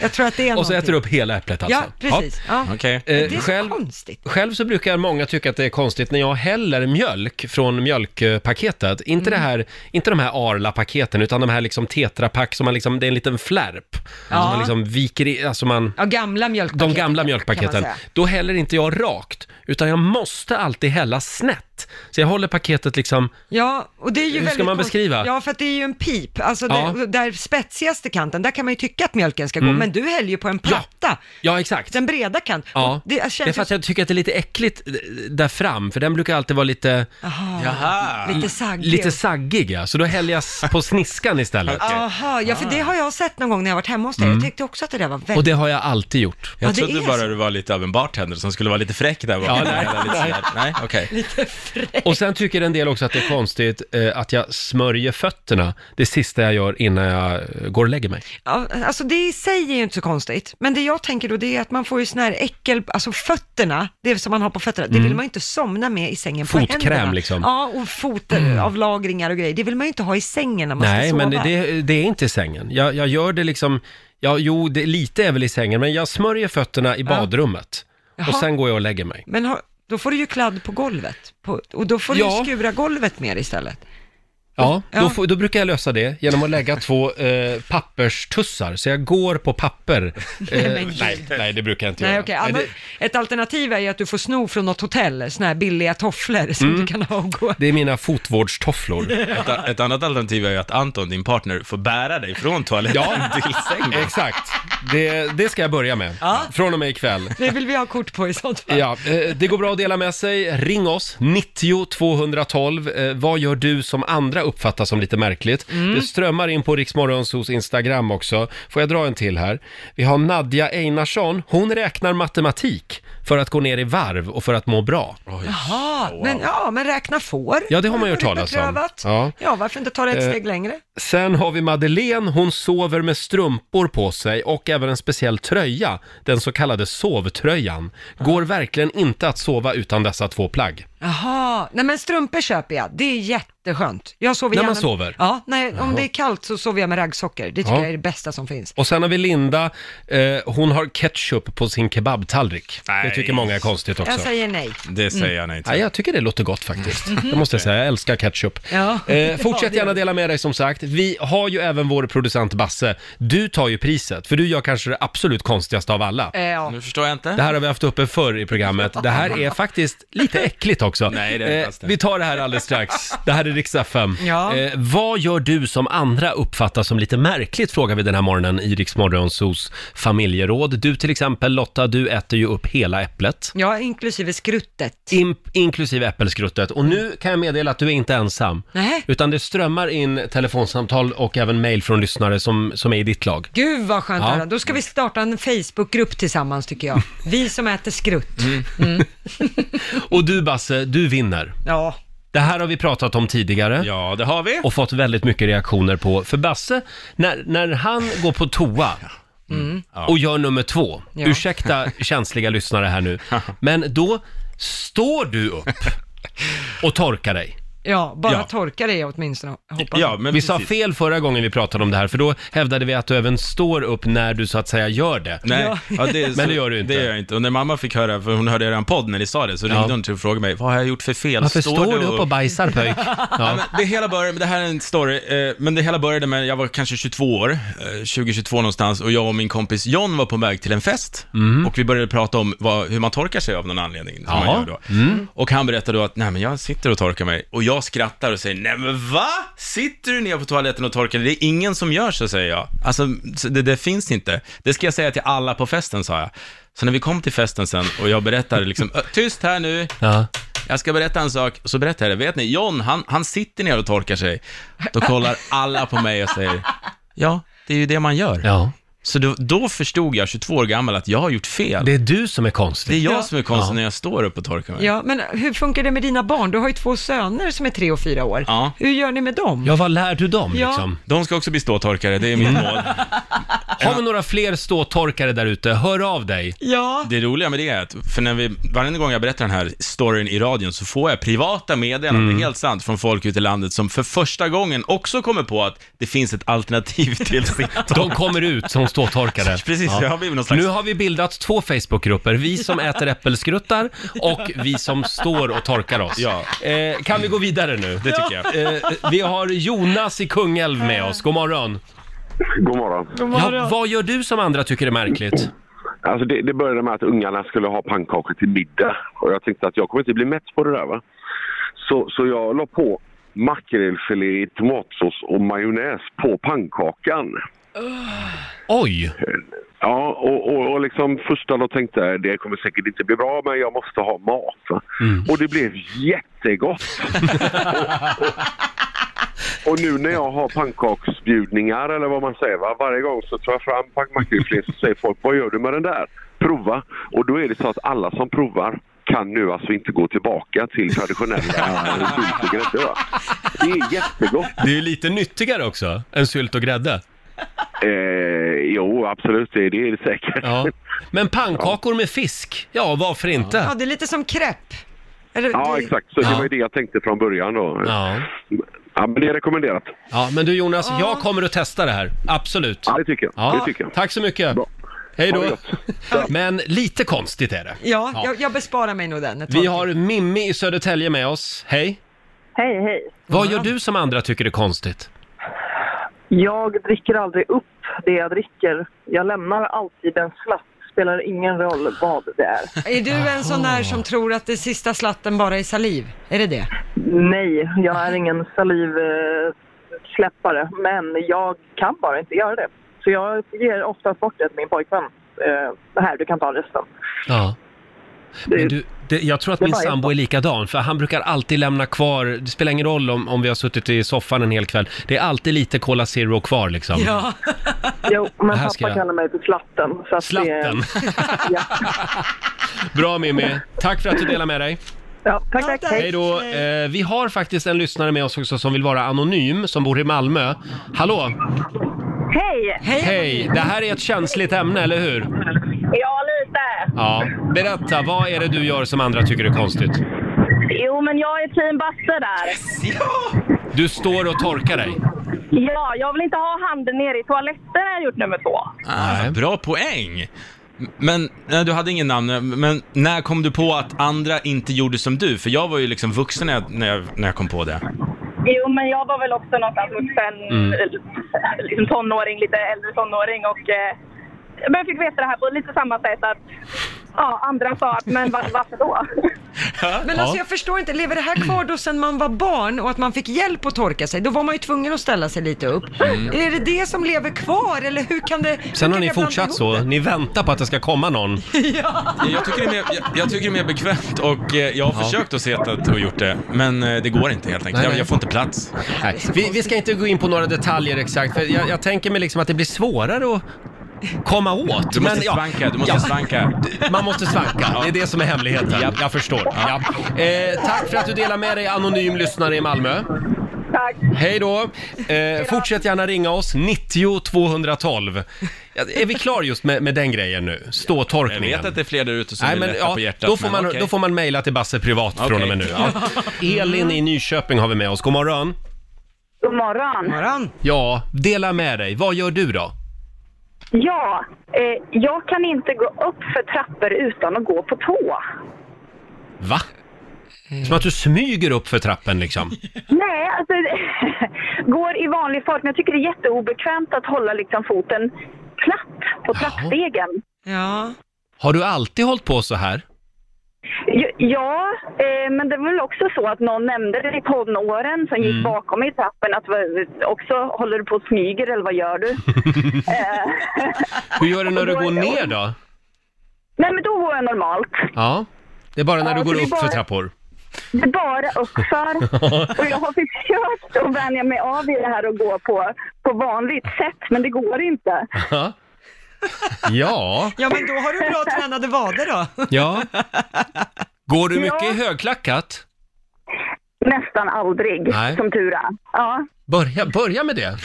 Jag tror att det är
Och så äter
någonting.
du upp hela äpplet alltså?
Ja, precis. Ja.
Eh,
Det är så
själv,
konstigt.
själv så brukar många tycka att det är konstigt när jag häller mjölk från mjölkpaketet. Inte,
Mm.
det här, inte de här Arla-paketen, utan de här liksom tetrapack som man liksom, det är en liten flärp.
Ja.
Som man liksom viker i, alltså man...
Ja, gamla
De
mjölkpaket.
gamla
kan
mjölkpaketen,
man säga.
då häller inte jag rakt, utan jag måste alltid hälla snett. Så jag håller paketet liksom,
Ja, och det är ju
Hur ska
väldigt
man
konst-
beskriva?
Ja, för att det är ju en pip. Alltså
Ja.
det, där spetsigaste kanten, där kan man ju tycka att mjölken ska gå,
Mm.
men du häller ju på en platta. Ja,
exakt.
Den breda kanten.
ja.
Och Det
det är
känns
för
ju...
att jag tycker att det är lite äckligt eh, där fram, för den brukar alltid vara lite...
Aha.
Jaha.
Lite saggig.
Lite saggig ja, så då häller jag s- på sniskan istället.
Aha, ja för det har jag sett någon gång när jag varit hemma hos dig.
Mm.
Jag tyckte också att det där var väldigt...
Och det har jag alltid gjort.
Jag
Ja, det
trodde
är
bara du var lite av en bartender som skulle vara lite fräck där bakom.
Ja, nej.
Eller lite sådär. nej, okej.
Och sen tycker en del också att det är konstigt eh, att jag smörjer fötterna det sista jag gör innan jag eh, går och lägger mig.
Ja, alltså det i sig är ju inte så konstigt, men det jag tänker då det är att man får ju sån här äckel, alltså fötterna, det som man har på fötterna, det
Mm.
vill man ju inte somna med i sängen på
Fotkräm,
händerna.
liksom. Mm.
Ja, och fotavlagringar och grejer, det vill man ju inte ha i sängen när man
Nej,
ska sova.
men det, det är inte i sängen. Jag, jag gör det liksom, ja, jo, det, lite är väl i sängen, men jag smörjer fötterna i badrummet.
Jaha.
Och sen går jag och lägger mig.
Men har, då får du ju kladd på golvet, på, och då får du
Ja.
ju skura golvet mer istället.
Ja,
Ja.
Då, får, då brukar jag lösa det genom att lägga två eh, papperstussar, så jag går på papper.
Nej,
Eh,
men gud.
nej, nej, det brukar jag inte
Nej,
göra.
okej.
Nej,
Annars,
det-
Ett alternativ är ju att du får sno från något hotell, såna här billiga tofflor som
Mm.
du kan ha och gå.
Det är mina fotvårdstofflor.
Ett, a- ett annat alternativ är ju att Anton, din partner, får bära dig från toaletten
Ja,
till sängen.
exakt. Det, det ska jag börja med. Från och med ikväll.
Det vill vi ha kort på i sånt fall.
Ja, eh, det går bra att dela med sig. Ring oss, 90 212. Eh, Vad gör du som andra uppfattar som lite märkligt? Det strömmar in på Riksmorgonsos Instagram också. Får jag dra en till här? Vi har Nadja Einarsson. Hon räknar matematik för att gå ner i varv och för att må bra.
Jaha, men, ja, men räkna får.
Oh, Ja, det har man ju hört
lite
talas om.
prövat.
Ja.
Ja. varför inte ta det ett
Eh,
steg längre?
Sen har vi Madeleine, hon sover med strumpor på sig och även en speciell tröja, den så kallade sovtröjan. Går verkligen inte att sova utan dessa två plagg.
Jaha, nej men strumpor köper jag, det är jätteskönt. Jag sover
När man
gärna...
sover?
Ja, nej, om
Jaha.
det är kallt så sover jag med raggsockor, det tycker
Ja.
jag är det bästa som finns.
Och sen har vi Linda, eh, hon har ketchup på sin kebabtallrik. Det tycker många är konstigt också.
Jag säger nej. Mm.
nej till. Ja, jag tycker det låter gott faktiskt.
Mhm.
Det måste jag säga, jag älskar ketchup.
Ja.
Eh, fortsätt
Ja,
gärna
det-
dela med dig som sagt. Vi har ju även vår producent Basse. Du tar ju priset, för du gör kanske det absolut konstigaste av alla.
Eh, ja.
Nu förstår jag inte.
Det här har vi haft uppe förr i programmet. Det här är faktiskt lite äckligt också. Eh,
Nej, det är inte alls det.
vi tar det här alldeles strax. Det här är Riksdag 5.
Ja.
Eh, vad gör du som andra uppfattar som lite märkligt, frågar vi den här morgonen i Riksmorgonsos familjeråd. Du till exempel Lotta, du äter ju upp hela äpplet.
Ja, inklusive skruttet.
In, inklusive äppelskruttet. Och nu kan jag meddela att du är inte ensam.
Nej.
Utan det strömmar in telefonsamtal och även mejl från lyssnare som, som är i ditt lag.
Gud vad skönt
Ja.
att höra. Då ska vi starta en Facebookgrupp tillsammans tycker jag. Vi som äter skrutt.
och du Basse, du vinner.
Ja.
Det här har vi pratat om tidigare.
Ja, det har vi.
Och fått väldigt mycket reaktioner på. För Basse, när, när han går på toa
Mm.
och gör nummer två,
Ja.
ursäkta känsliga lyssnare här nu, men då står du upp och torkar dig.
Ja, bara
Ja.
torka dig åtminstone. Hoppas.
vi sa fel förra gången vi pratade om det här, för då hävdade vi att du även står upp när du så att säga gör det.
Nej, ja. det,
men det gör du inte.
Det gör jag inte. Och när mamma fick höra, för hon hörde redan podd när ni sa det, så ringde hon till och frågade mig, vad har jag gjort för fel?
Varför står, du upp och bajsar pöjk?
Ja.
Ja.
men det, hela började, det här är en story, eh, men det hela började med, jag var kanske 22 år, eh, 2022 någonstans, och jag och min kompis John var på väg till en fest, och vi började prata om vad, hur man torkar sig av någon anledning. Som man
Jaha.
gör då. Och han berättade då att, nej men jag sitter och torkar mig, och jag Jag skrattar och säger, nej men va? Sitter du ner på toaletten och torkar dig? Det är ingen som gör så, säger jag. Alltså, så det, det finns inte. Det ska jag säga till alla på festen, sa jag. Så när vi kom till festen sen och jag berättade liksom, "Ö, tyst här nu, jag ska berätta en sak. Och så berättar jag det, vet ni, John, han, han sitter ner och torkar sig. Då kollar alla på mig och säger, ja, det är ju det man gör. Så då, då förstod jag, 22 år gammal, att jag har gjort fel. Det
är du som är konstig.
Det är jag
Ja.
som är konstig
Ja.
när jag står upp och torkar mig.
Ja, men hur funkar det med dina barn? Du har ju två söner som är tre och fyra år.
Ja.
Hur gör ni med dem?
Ja, vad lär du dem
Ja.
liksom?
De ska också bli ståtorkare, det är min mål.
Har vi några fler ståtorkare där ute, hör av dig.
Ja.
Det roliga med det är att, för när vi, varje gång jag berättar den här storyn i radion så får jag privata meddelanden,
Mm.
det är helt sant, från folk ute i landet som för första gången också kommer på att det finns ett alternativ till sitt
De kommer ut som ståtorkare.
Precis, jag har blivit någon slags-
Nu har vi bildat två Facebookgrupper, vi som äter äppelskruttar och vi som står och torkar oss. Eh, kan vi gå vidare nu?
Det tycker jag.
Eh, vi har Jonas i Kungälv med oss, god morgon.
God morgon.
God morgon. Ja, vad gör du som andra tycker är märkligt?
Alltså det, det började med att ungarna skulle ha pannkakor till middag. Och jag tänkte att jag kommer inte bli mätt på det där va. Så, så jag la på makrillfilé i tomatsås och majonnäs på pannkakan.
Oj!
Ja, och, och, och liksom första då tänkte jag det kommer säkert inte bli bra men jag måste ha mat. va. Och det blev jättegott! och, och, och nu när jag har pannkaksbjudningar eller vad man säger, va? varje gång så tar jag fram pack- makrillfilé så säger folk vad gör du med den där? Prova! Och då är det så att alla som provar kan nu alltså inte gå tillbaka till traditionella eh, sylt och grädde. va. Det är jättegott!
Det är ju lite nyttigare också än sylt och grädde.
Eh, jo, absolut, det, det är det säkert.
Ja. Men pannkakor med fisk, ja varför inte?
Ja, det är lite som crepe. Eller,
Ja,
det-
exakt. Så det var ju det jag tänkte från början då.
Ja.
men det är rekommenderat.
Ja, men du Jonas, jag kommer att testa det här. Absolut. Ja,
det tycker jag. Det tycker jag.
Tack så mycket. Hej
Ha det
då. Men lite konstigt är det.
Ja,
Ja.
Jag, jag besparar mig nog den ett tag.
Vi har Mimmi i Södertälje med oss. Hej.
Hej, hej.
Vad gör du som andra tycker är konstigt?
Jag dricker aldrig upp det jag dricker. Jag lämnar alltid en slatt. Spelar ingen roll vad det är.
Är du en sån
Ah.
där som tror att det sista slatten bara är saliv? Är det det?
Nej, jag är ingen salivsläppare. eh, Men jag kan bara inte göra det. Så jag ger oftast bort det till min pojkvän. Eh, Det här, du kan ta resten.
Ja. Men du, det, jag tror att
Det
min
var jag
sambo är likadan, för han brukar alltid lämna kvar, det spelar ingen roll om, om vi har suttit i soffan en hel kväll, det är alltid lite Cola Zero kvar liksom.
Jo, men
Det här
pappa
ska jag-
kallar mig för slatten. Så att
Slatten?
Det...
Bra Mimmi, tack för att du delar med dig.
Ja, tack, tack.
Hej då. Eh, vi har faktiskt en lyssnare med oss också som vill vara anonym, som bor i Malmö. Hallå!
Hej!
Hej! Det här är ett känsligt ämne, eller hur?
Ja, lite.
Ja. Berätta, vad är det du gör som andra tycker är konstigt?
Jo, men jag är team Basse där.
Du står och torkar dig.
Ja, jag vill inte ha handen nere i toaletten har jag gjort nummer två.
Ah, bra poäng! Men nej, du hade ingen namn, men när kom du på att andra inte gjorde som du? För jag var ju liksom vuxen när jag, när jag, när jag kom på det.
Jo, men jag var väl också någonstans vuxen,
Mm.
eh, liksom tonåring, lite äldre tonåring och eh, men jag fick veta det här på lite samma sätt att ja, andra sa att men var, varför då?
Men alltså jag förstår inte, lever det här
Mm.
kvar då sen man var barn och att man fick hjälp att torka sig? Då var man ju tvungen att ställa sig lite upp.
Mm.
Är det det som lever kvar eller hur kan det... hur
Sen
kan
har ni
jag blanda
fortsatt
ihop
så. Ni väntar på att det ska komma någon.
Jag tycker det är mer, jag, jag tycker det är mer bekvämt och eh, jag har försökt att se att och gjort det, men eh, det går inte helt enkelt.
Nej,
Jag,
nej.
jag får inte plats.
Nej, vi, vi ska inte gå in på några detaljer exakt, för jag, jag tänker mig liksom att det blir svårare att komma åt.
Du måste svanka, du måste svanka.
Man måste svanka, det är det som är hemligheten. Jag förstår. Ja. Eh, tack för att du delar med dig, anonym lyssnare i Malmö.
Tack.
Hej då! Eh, fortsätt gärna ringa oss, 90 212. Ja, Är vi klar just med, med den grejen nu? Ståtorkningen.
Jag vet att det är fler där ute som vill lätta på hjärtat,
Då får,
men
man,
okej.
då får man mejla till Basse privat från och med nu. Ja. Elin i Nyköping har vi med oss, god morgon.
God morgon.
Ja, dela med dig. Vad gör du då?
Ja, eh, jag kan inte gå upp för trappor utan att gå på tå.
Va? Som att du smyger upp för trappen liksom.
Nej, alltså går i vanlig fart, men jag tycker det är jätteobekvämt att hålla liksom foten platt på trappstegen.
Ja.
Har du alltid hållit på så här?
Ju- Ja, eh, men det var väl också så att någon nämnde det i tonåren som gick
Mm.
bakom i trappen att vad- också håller du på och smyger eller vad gör du? Eh,
Hur gör du när du går ner då?
Nej men då går jag normalt.
Ja, det är bara när du
Ja,
går
det är
upp för
bara-
trappor.
Det är bara uppför. Och jag har försökt att vänja mig av i det här och gå på, på vanligt sätt, men det går inte.
Ja. Ja.
Ja, men då har du bra tränade vader då.
Ja. Går du mycket
Ja.
i högklackat?
Nästan aldrig,
Nej.
som tur är. Ja.
Börja, börja med det.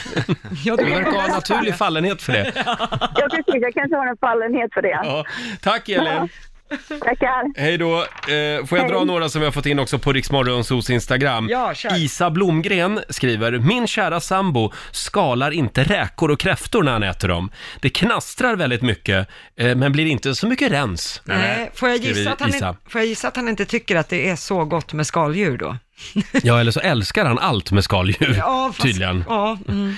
det
Du verkar ha en naturlig fallenhet för det.
Ja, precis. Jag kanske har en fallenhet för det.
Ja. Tack Elin.
Tackar.
Hej då. Eh, får jag dra
Hej.
några som vi har fått in också på Riksmorgonsos Instagram?
Ja, kör.
Isa Blomgren skriver, min kära sambo skalar inte räkor och kräftor när han äter dem. Det knastrar väldigt mycket, eh, men blir inte så mycket rens.
Nej, får, jag gissa
skriver
att han
Isa.
inte, får jag gissa att han inte tycker att det är så gott med skaldjur då?
Ja, eller så älskar han allt med skaldjur,
Ja, fast-
tydligen.
Ja, mm.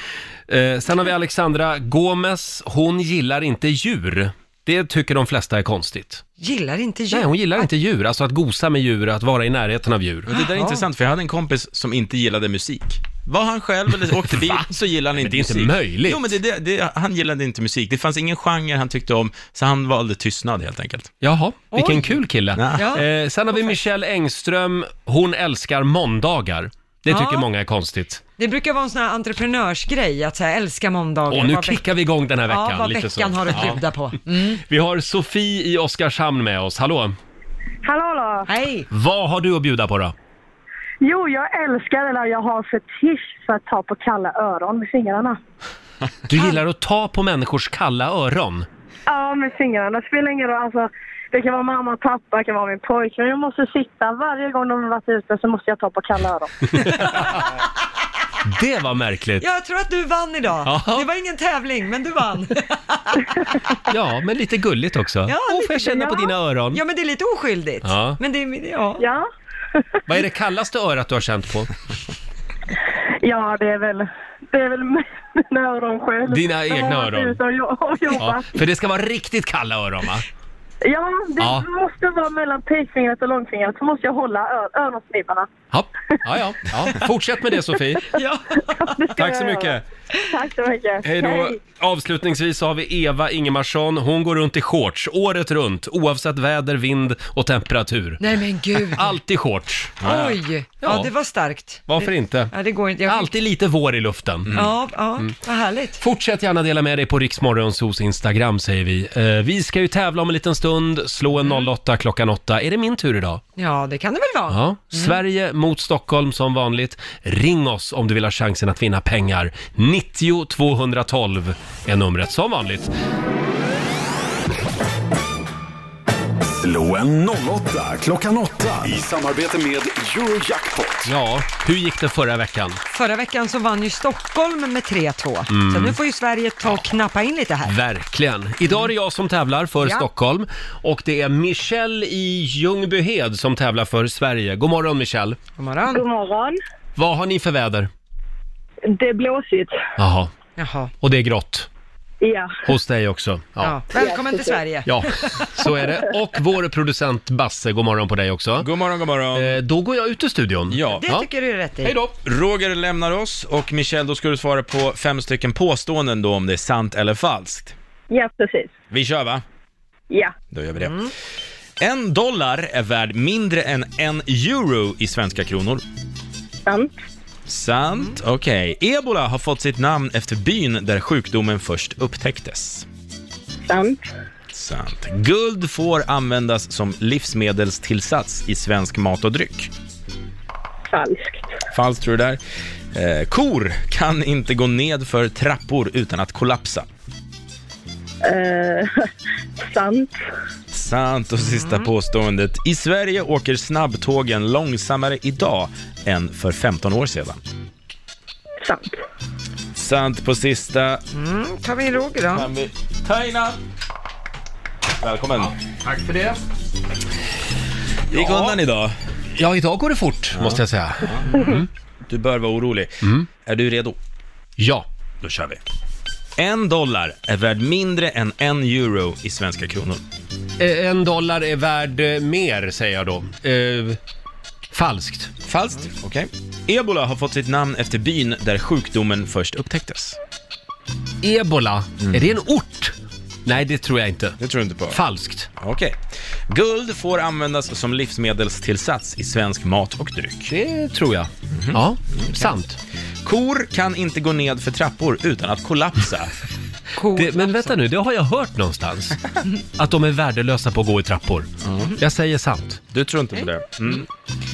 Eh, sen har vi Alexandra Gomes. Hon gillar inte djur. Det tycker de flesta är konstigt.
Gillar inte djur.
Nej, hon gillar inte djur. Alltså att gosa med djur, att vara i närheten av djur.
Och det där är intressant, för jag hade en kompis som inte gillade musik. Var han själv eller åkte bil så gillade han inte
det är inte
musik.
möjligt.
Jo, men det, det, det, han gillade inte musik. Det fanns ingen genre han tyckte om, så han valde tystnad helt enkelt.
Jaha, vilken
Oj.
kul kille.
Ja.
Eh, sen har vi Michelle Engström. Hon älskar måndagar. Det tycker
Ja.
många är konstigt.
Det brukar vara en sån här entreprenörsgrej att säga älska måndagar.
Och nu
Vad veck-
kickar vi igång den här veckan.
Ja, vad
lite
veckan
så.
har att
Ja.
bjuda på. Mm.
Vi har Sofie i Oskarshamn med oss. Hallå!
Hallå, hallå.
Hej.
Vad har du att bjuda på då?
Jo, jag älskar eller jag har fetisch för att ta på kalla öron med fingrarna.
Du gillar att ta på människors kalla öron.
Ja, med fingrarna. Det spelar ingen roll. Alltså, det kan vara mamma, pappa, det kan vara min pojkvän. Jag måste sitta varje gång de har varit ute så måste jag ta på kalla öron.
Det var märkligt.
Jag tror att du vann idag.
Ja.
Det var ingen tävling, men du vann.
Ja, men lite gulligt också.
Ja,
Åh, får
lite-
jag känna på
ja.
dina öron?
Ja, men det är lite oskyldigt.
Ja.
Men det är, ja.
ja.
Vad är det kallaste örat du har känt på?
Ja, det är väl, det är väl mina öron själv.
Dina
De har
egna
varit
öron.
ute Och, jo- och
Ja,
jobbat.
för det ska vara riktigt kalla öron va?
Ja, det
Ja.
måste vara mellan pekfingret och långfingret. Så måste jag hålla ö- öronsnibbarna.
Ja, ja, ja. ja. Fortsätt med det Sofie. Tack så
jag
mycket.
Tack så mycket.
Hej då. Avslutningsvis så har vi Eva Ingemarsson. Hon går runt i shorts året runt, oavsett väder, vind och temperatur.
Nej men gud.
Alltid shorts.
Oj. Ja.
Ja.
det var starkt.
Varför
Det-
inte?
Ja, det går inte. Jag...
Alltid lite vår i luften.
Ja, ja,
Mm.
vad härligt.
Fortsätt gärna dela med dig på Riksmorgonsos Instagram säger vi. Eh, vi ska ju tävla om en liten stund, slå en 08 klockan 8. Är det min tur idag?
Ja, det kan det väl vara.
Ja. Sverige mot Stockholm som vanligt. Ring oss om du vill ha chansen att vinna pengar. 90 212 är numret som vanligt.
Slå en 08 klockan 8 i samarbete med Eurojackpot.
Ja, hur gick det förra veckan?
Förra veckan så vann ju Stockholm med 3-2.
Mm.
Så nu får ju Sverige ta och knappa in lite här.
Verkligen. Idag är det jag som tävlar för
Ja.
Stockholm och det är Michelle i Ljungbyhed som tävlar för Sverige. God morgon Michelle!
God morgon.
God morgon.
Vad har ni för väder?
Det är blåsigt.
Jaha.
Jaha.
Och det är grått.
Ja.
Hos dig också. Ja.
Ja. Välkommen till Sverige.
Ja, så är det. Och vår producent Basse, god morgon på dig också.
God morgon, god morgon.
Eh, då går jag ut ur studion.
Ja.
Det tycker du är rätt i.
Hej då.
Roger lämnar oss och Michelle, då ska du svara på fem stycken påståenden då om det är sant eller falskt.
Ja, precis.
Vi kör va?
Ja.
Då gör vi det. En dollar är värd mindre än en euro i svenska kronor.
Sant.
Sant, okej. Ebola har fått sitt namn efter byn där sjukdomen först upptäcktes.
Sant.
Sant. Guld får användas som livsmedelstillsats i svensk mat och dryck.
Falskt.
Falskt tror du där. Eh, kor kan inte gå ned för trappor utan att kollapsa.
Eh, sant.
Sant och sista påståendet. I Sverige åker snabbtågen långsammare idag än för 15 år sedan.
Sant.
Sant på sista.
Mm, tar vi in Roger
Kan
då?
vi ta in han? Välkommen.
Tack för det.
Det gick undan idag.
Ja, idag går det fort, måste jag säga. Mm.
Du bör vara orolig. Är du redo?
Ja.
Då kör vi. En dollar är värd mindre än en euro i svenska kronor.
Eh, En dollar är värd eh, mer, säger jag då. Eh, falskt.
Falskt, okej. Ebola har fått sitt namn efter byn där sjukdomen först upptäcktes.
Ebola, är det en ort? Nej, det tror jag inte.
Det tror du inte på?
Falskt.
Okej. Guld får användas som livsmedelstillsats i svensk mat och dryck.
Det tror jag. Ja, sant.
Kor kan inte gå ned för trappor utan att kollapsa.
Det, men vänta nu, det har jag hört någonstans. Att de är värdelösa på att gå i trappor. Jag säger sant.
Du tror inte på det? Mm.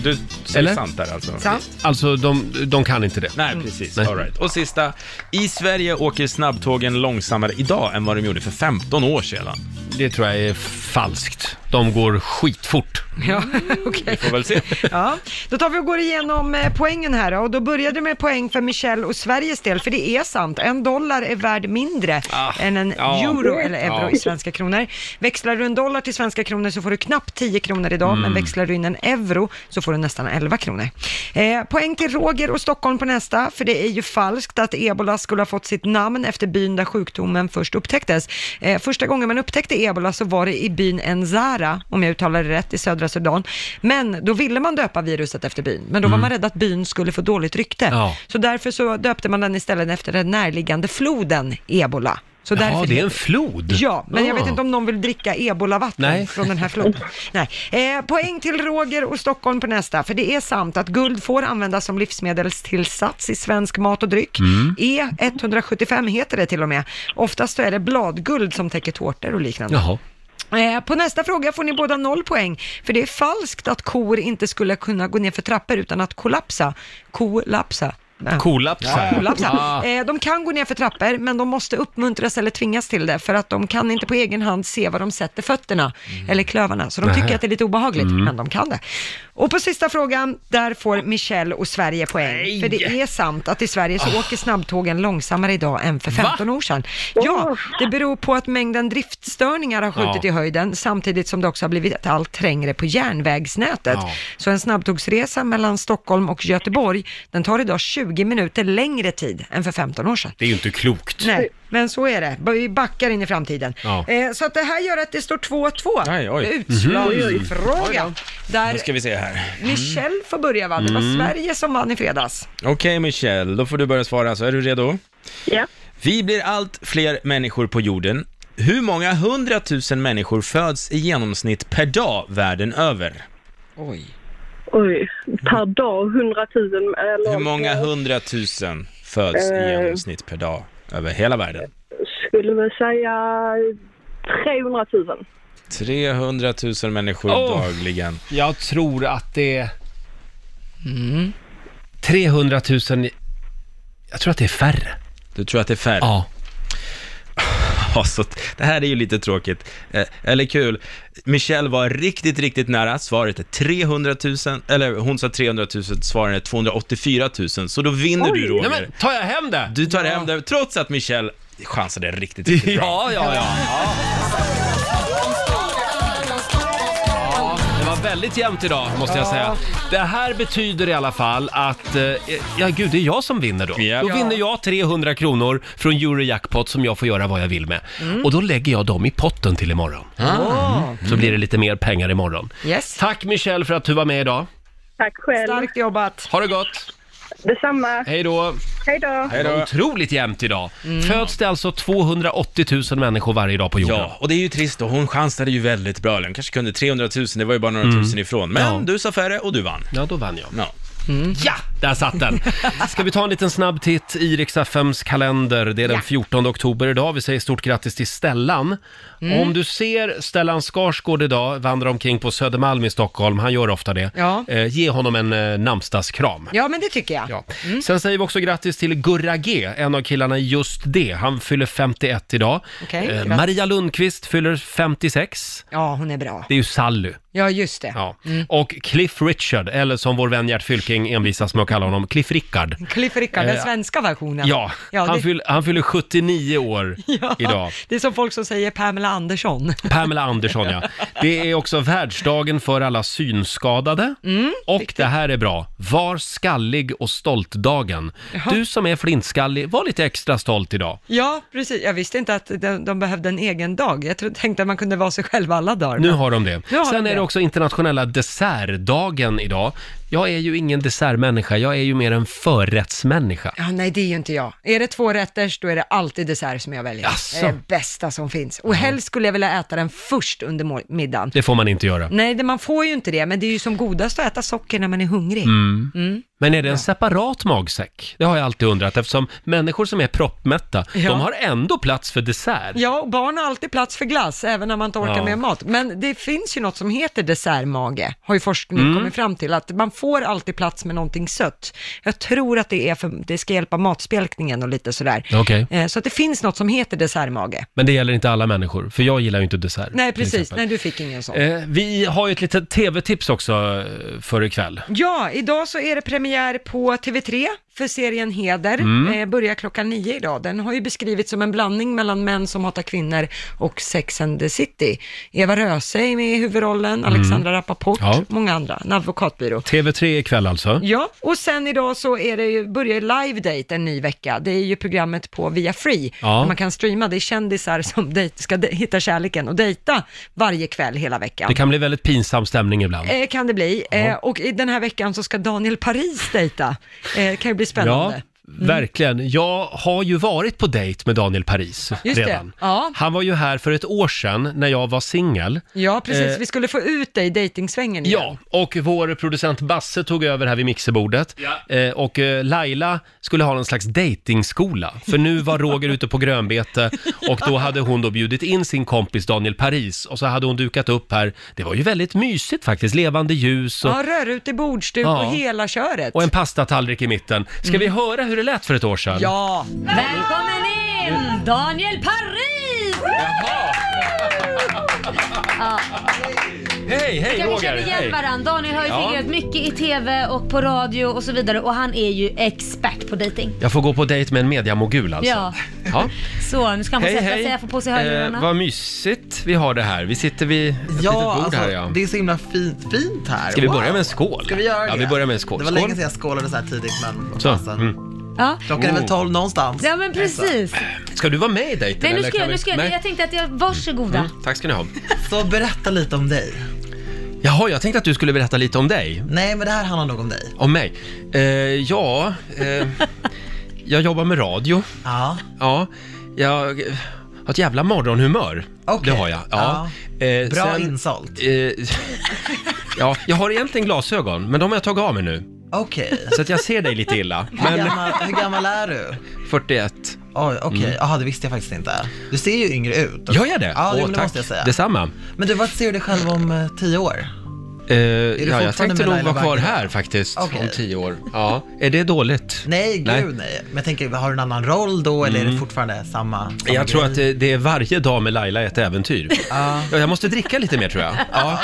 Du säger
Eller?
sant där alltså?
Alltså, de, de kan inte det.
Nej, precis. All right. Och sista. I Sverige åker snabbtågen långsammare idag än vad de gjorde för 15 år sedan.
Det tror jag är falskt. De går skitfort.
Ja, okej.
Vi får väl se.
Ja, då tar vi och går igenom eh, poängen här då. och då började det med poäng för Michelle och Sveriges del, för det är sant. En dollar är värd mindre än en
ja.
euro eller euro
Ja.
i svenska kronor. Växlar du en dollar till svenska kronor så får du knappt 10 kronor idag,
Mm.
men växlar du in en euro så får du nästan 11 kronor. Eh, poäng till Roger och Stockholm på nästa, för det är ju falskt att ebola skulle ha fått sitt namn efter byn där sjukdomen först upptäcktes. Eh, första gången man upptäckte ebola så var det i byn Enzara, om jag uttalar det rätt, i södra Sudan. Men då ville man döpa viruset efter byn, men då var
Mm.
man rädd att byn skulle få dåligt rykte.
Ja.
Så därför så döpte man den istället efter den närliggande floden ebola. Så
Ja,
därför
det är en flod.
Ja, men jag vet
Ah.
inte om någon vill dricka ebolavatten
Nej.
från den här floden. Nej. Eh, poäng till Roger och Stockholm på nästa, för det är sant att guld får användas som livsmedelstillsats i svensk mat och dryck.
Mm.
E175 heter det till och med. Oftast så är det bladguld som täcker tårtor och liknande.
Jaha.
Eh, På nästa fråga får ni båda noll poäng, för det är falskt att kor inte skulle kunna gå ner för trappor utan att kollapsa. Kolapsa. Nej.
Kollapsa.
Ja, kollapsa.
Ah.
Eh, De kan gå ner för trappor, men de måste uppmuntras eller tvingas till det, för att de kan inte på egen hand se var de sätter fötterna, eller klövarna, så de
Nähä.
tycker att det är lite obehagligt,
Mm.
men de kan det. Och på sista frågan, där får Michelle och Sverige poäng, för det är sant att i Sverige så åker snabbtågen långsammare idag än för 15 år sedan. Ja, det beror på att mängden driftstörningar har skjutit
Ja.
i höjden, samtidigt som det också har blivit allt trängre på järnvägsnätet.
Ja.
Så en snabbtågsresa mellan Stockholm och Göteborg, den tar idag 20 minuter längre tid än för 15 år sedan.
Det är ju inte klokt.
Nej, men så är det. Vi backar in i framtiden.
Ja.
Eh, så att det här gör att det står 2-2.
Aj, oj. Mhm. Oj
Utslagsfråga.
Nu ska
Där
vi se här.
Michelle får börja va? Det var
Mm.
Sverige som vann i fredags.
Okej Michelle, då får du börja svara, så är du redo?
Ja.
Vi blir allt fler människor på jorden. Hur många hundratusen människor föds i genomsnitt per dag världen över?
Oj.
Oj, per dag 100 000 eller...
Hur många hundratusen föds i
Eh.
genomsnitt per dag över hela världen?
Skulle väl säga 300 000.
300 000 människor
Åh.
dagligen.
Jag tror att det är... Mm. 300 000... Jag tror att det är färre.
Du tror att det är färre? Ja. så t- det här är ju lite tråkigt, eh, eller kul. Michelle var riktigt, riktigt nära. Svaret är 300 000, eller hon sa 300 000, svaren är 284 000. Så då vinner
Oj.
du Roger.
Nej, men tar jag hem det?
Du tar hem det, trots att Michelle chansade riktigt, riktigt bra.
Ja, ja, ja. Ja, det var väldigt jämnt idag måste jag
Ja.
säga. Det här betyder i alla fall att, eh, ja gud det är jag som vinner då. Då vinner jag 300 kronor från Eurojackpot som jag får göra vad jag vill med. Och då lägger jag dem i potten till imorgon.
Ah.
Mm. Så blir det lite mer pengar imorgon.
Yes.
Tack Michelle för att du var med idag.
Tack själv.
Starkt jobbat.
Ha det gott!
Detsamma.
Hej då!
Hej då.
Det var Otroligt jämnt idag. Föds det alltså 280 000 människor varje dag på jorden?
Ja, och det är ju trist då. Hon chansade ju väldigt bra. Hon kanske kunde 300 000, det var ju bara några
Mm.
tusen ifrån. Men du sa färre och du vann.
Ja, då vann jag.
Ja.
Ja, där satt den! Ska vi ta en liten snabb titt i Rix FMs kalender? Det är den 14 oktober idag. Vi säger stort grattis till Stellan.
Mm.
Om du ser Stellan Skarsgård idag vandra omkring på Södermalm i Stockholm, han gör ofta det,
Ja.
eh, ge honom en eh, namnsdagskram.
Ja, Mm. men det tycker jag. Ja.
Sen säger vi också grattis till Gurra G, en av killarna i Just det. Han fyller 51 idag.
Okej,
Eh,
grattis.
Maria Lundqvist fyller 56.
Ja, hon är bra.
Det är ju Sally.
Ja, just det.
Ja. Och Cliff Richard, eller som vår vän Gert Fylking envisas med att kalla honom, Cliff Rickard.
Cliff Rickard, den
Eh,
svenska versionen.
Ja, han,
det,
fyll, han fyller 79 år idag.
det är som folk som säger Pamela Andersson.
Pamela Andersson, ja. Det är också världsdagen för alla synskadade.
Mm,
och det här är bra. Var skallig och stolt-dagen. Du som är flintskallig, var lite extra stolt idag.
Ja, precis. Jag visste inte att de, de behövde en egen dag. Jag tro- tänkte att man kunde vara sig själv alla dagar.
Nu har de det.
Nu har de
Sen är
det.
det också internationella dessertdagen idag. Jag är ju ingen dessertmänniska, jag är ju mer en förrättsmänniska.
Ja, nej, det är ju inte jag. Är det två rätters, då är det alltid dessert som jag väljer.
Jaså?
Det är det bästa som finns. Och helst skulle jag vilja äta den först under mor- middagen.
Det får man inte göra.
Nej, det, man får ju inte det, men det är ju som godast att äta socker när man är hungrig.
Mm.
Mm.
Men är det en separat magsäck? Det har jag alltid undrat eftersom människor som är proppmätta,
Ja.
de har ändå plats för dessert.
Ja, och barn har alltid plats för glass, även när man inte orkar
Ja.
med mat. Men det finns ju något som heter dessertmage, har ju forskning
Mm.
kommit fram till, att man får alltid plats med någonting sött. Jag tror att det är för, det ska hjälpa matspjälkningen och lite sådär.
Okej.
Eh, Så att det finns något som heter dessertmage.
Men det gäller inte alla människor, för jag gillar ju inte dessert.
Nej,
till
precis.
exempel.
Nej, du fick ingen sån.
Eh, vi har ju ett litet tv-tips också eh, för ikväll.
Ja, idag så är det premiär på TV3 för serien Heder.
Mm.
Eh, börjar klockan nio idag. Den har ju beskrivits som en blandning mellan män som hatar kvinnor och Sex and the City. Eva Röse är med i huvudrollen, Alexandra Rappaport,
Mm. Ja.
många andra. En advokatbyrå.
TV3 ikväll alltså.
Ja, och sen idag så är det ju, börjar Live Date en ny vecka. Det är ju programmet på Via Free,
Ja.
där man kan streama. Det är kändisar som dej- ska de- hitta kärleken och dejta varje kväll hela veckan.
Det kan bli väldigt pinsam stämning ibland.
Eh, kan det bli. Eh, och i den här veckan så ska Daniel Paris dejta. Eh, kan ju bli spännande. Mm.
Ja, verkligen. Jag har ju varit på dejt med Daniel Paris
Just
redan.
det. Ja.
Han var ju här för ett år sedan när jag var singel.
ja, precis.
Eh,
Vi skulle få ut dig i dejtingsvängen igen.
Ja, och vår producent Basse tog över här vid mixerbordet. Eh, och eh, Laila skulle ha någon slags datingskola. För nu var Roger ute på grönbete och då hade hon då bjudit in sin kompis Daniel Paris och så hade hon dukat upp här. Det var ju väldigt mysigt faktiskt, levande ljus och,
Ja, rör ut i bordsduk
Ja.
och hela köret.
och en pastatallrik i mitten. Ska
Mm.
vi höra hur det lät för ett år sedan?
Ja.
Välkommen in Daniel Paris! Ja.
Hej, hej
Kan vi
Roger!
känna igen
Hej.
varandra? Daniel har ju
Ja.
figurerat mycket i TV och på radio och så vidare och han är ju expert på dating.
Jag får gå på dejt med en mediamogul alltså.
Ja.
Ja.
Så, nu ska han få
Hej,
sätta
hej.
sig, jag får på sig
Eh,
hörlurarna.
vad mysigt vi har det här. Vi sitter vid ett litet bord
Ja, alltså,
här ja.
det är så himla fint, fint här.
Ska vi
Wow.
börja med en skål?
Ska vi göra
Ja,
det?
vi börjar med en skål.
Det var
Skål.
länge sedan jag skålade så här tidigt, men
Så.
fasen.
Mm.
Ja.
Klockan är väl
Oh.
tolv någonstans.
Ja men precis.
Ska du vara med i dejten?
Nej nu
eller
ska
kan
jag,
vi-
nu ska jag,
Nej.
jag tänkte att jag, varsågoda.
Mm, tack ska ni ha.
Så berätta lite om dig.
Jaha, jag tänkte att du skulle berätta lite om dig.
Nej, men det här handlar nog om dig.
Om mig? Eh, ja, eh, jag jobbar med radio.
Ja.
Ja, jag har ett jävla morgonhumör.
Okej.
Det har jag. Ja. Eh,
Bra insålt.
eh, ja, jag har egentligen glasögon, men de har jag tagit av mig nu.
Okej.
Så att jag ser dig lite illa.
Hur,
Men
gammal, hur gammal är du?
41.
Oj, okej.
Mm.
Jaha, det visste jag faktiskt inte. Du ser ju yngre ut.
Gör jag det?
Ja, det,
Åh,
men det
tack.
måste jag säga.
Detsamma.
Men du, vad ser du dig själv om eh, tio år? du
Eh, ja, jag
fortfarande
tänkte
med
nog
Laila
vara kvar
Bagge?
här faktiskt,
Okej.
om tio år. Ja. Är det dåligt?
Nej, gud
Nej.
nej. Men jag tänker, har du en annan roll då eller är det
Mm.
fortfarande samma? samma
Jag tror
grej?
att det, det är varje dag med Laila ett äventyr.
Ja.
Ja, jag måste dricka lite mer tror jag. Ja.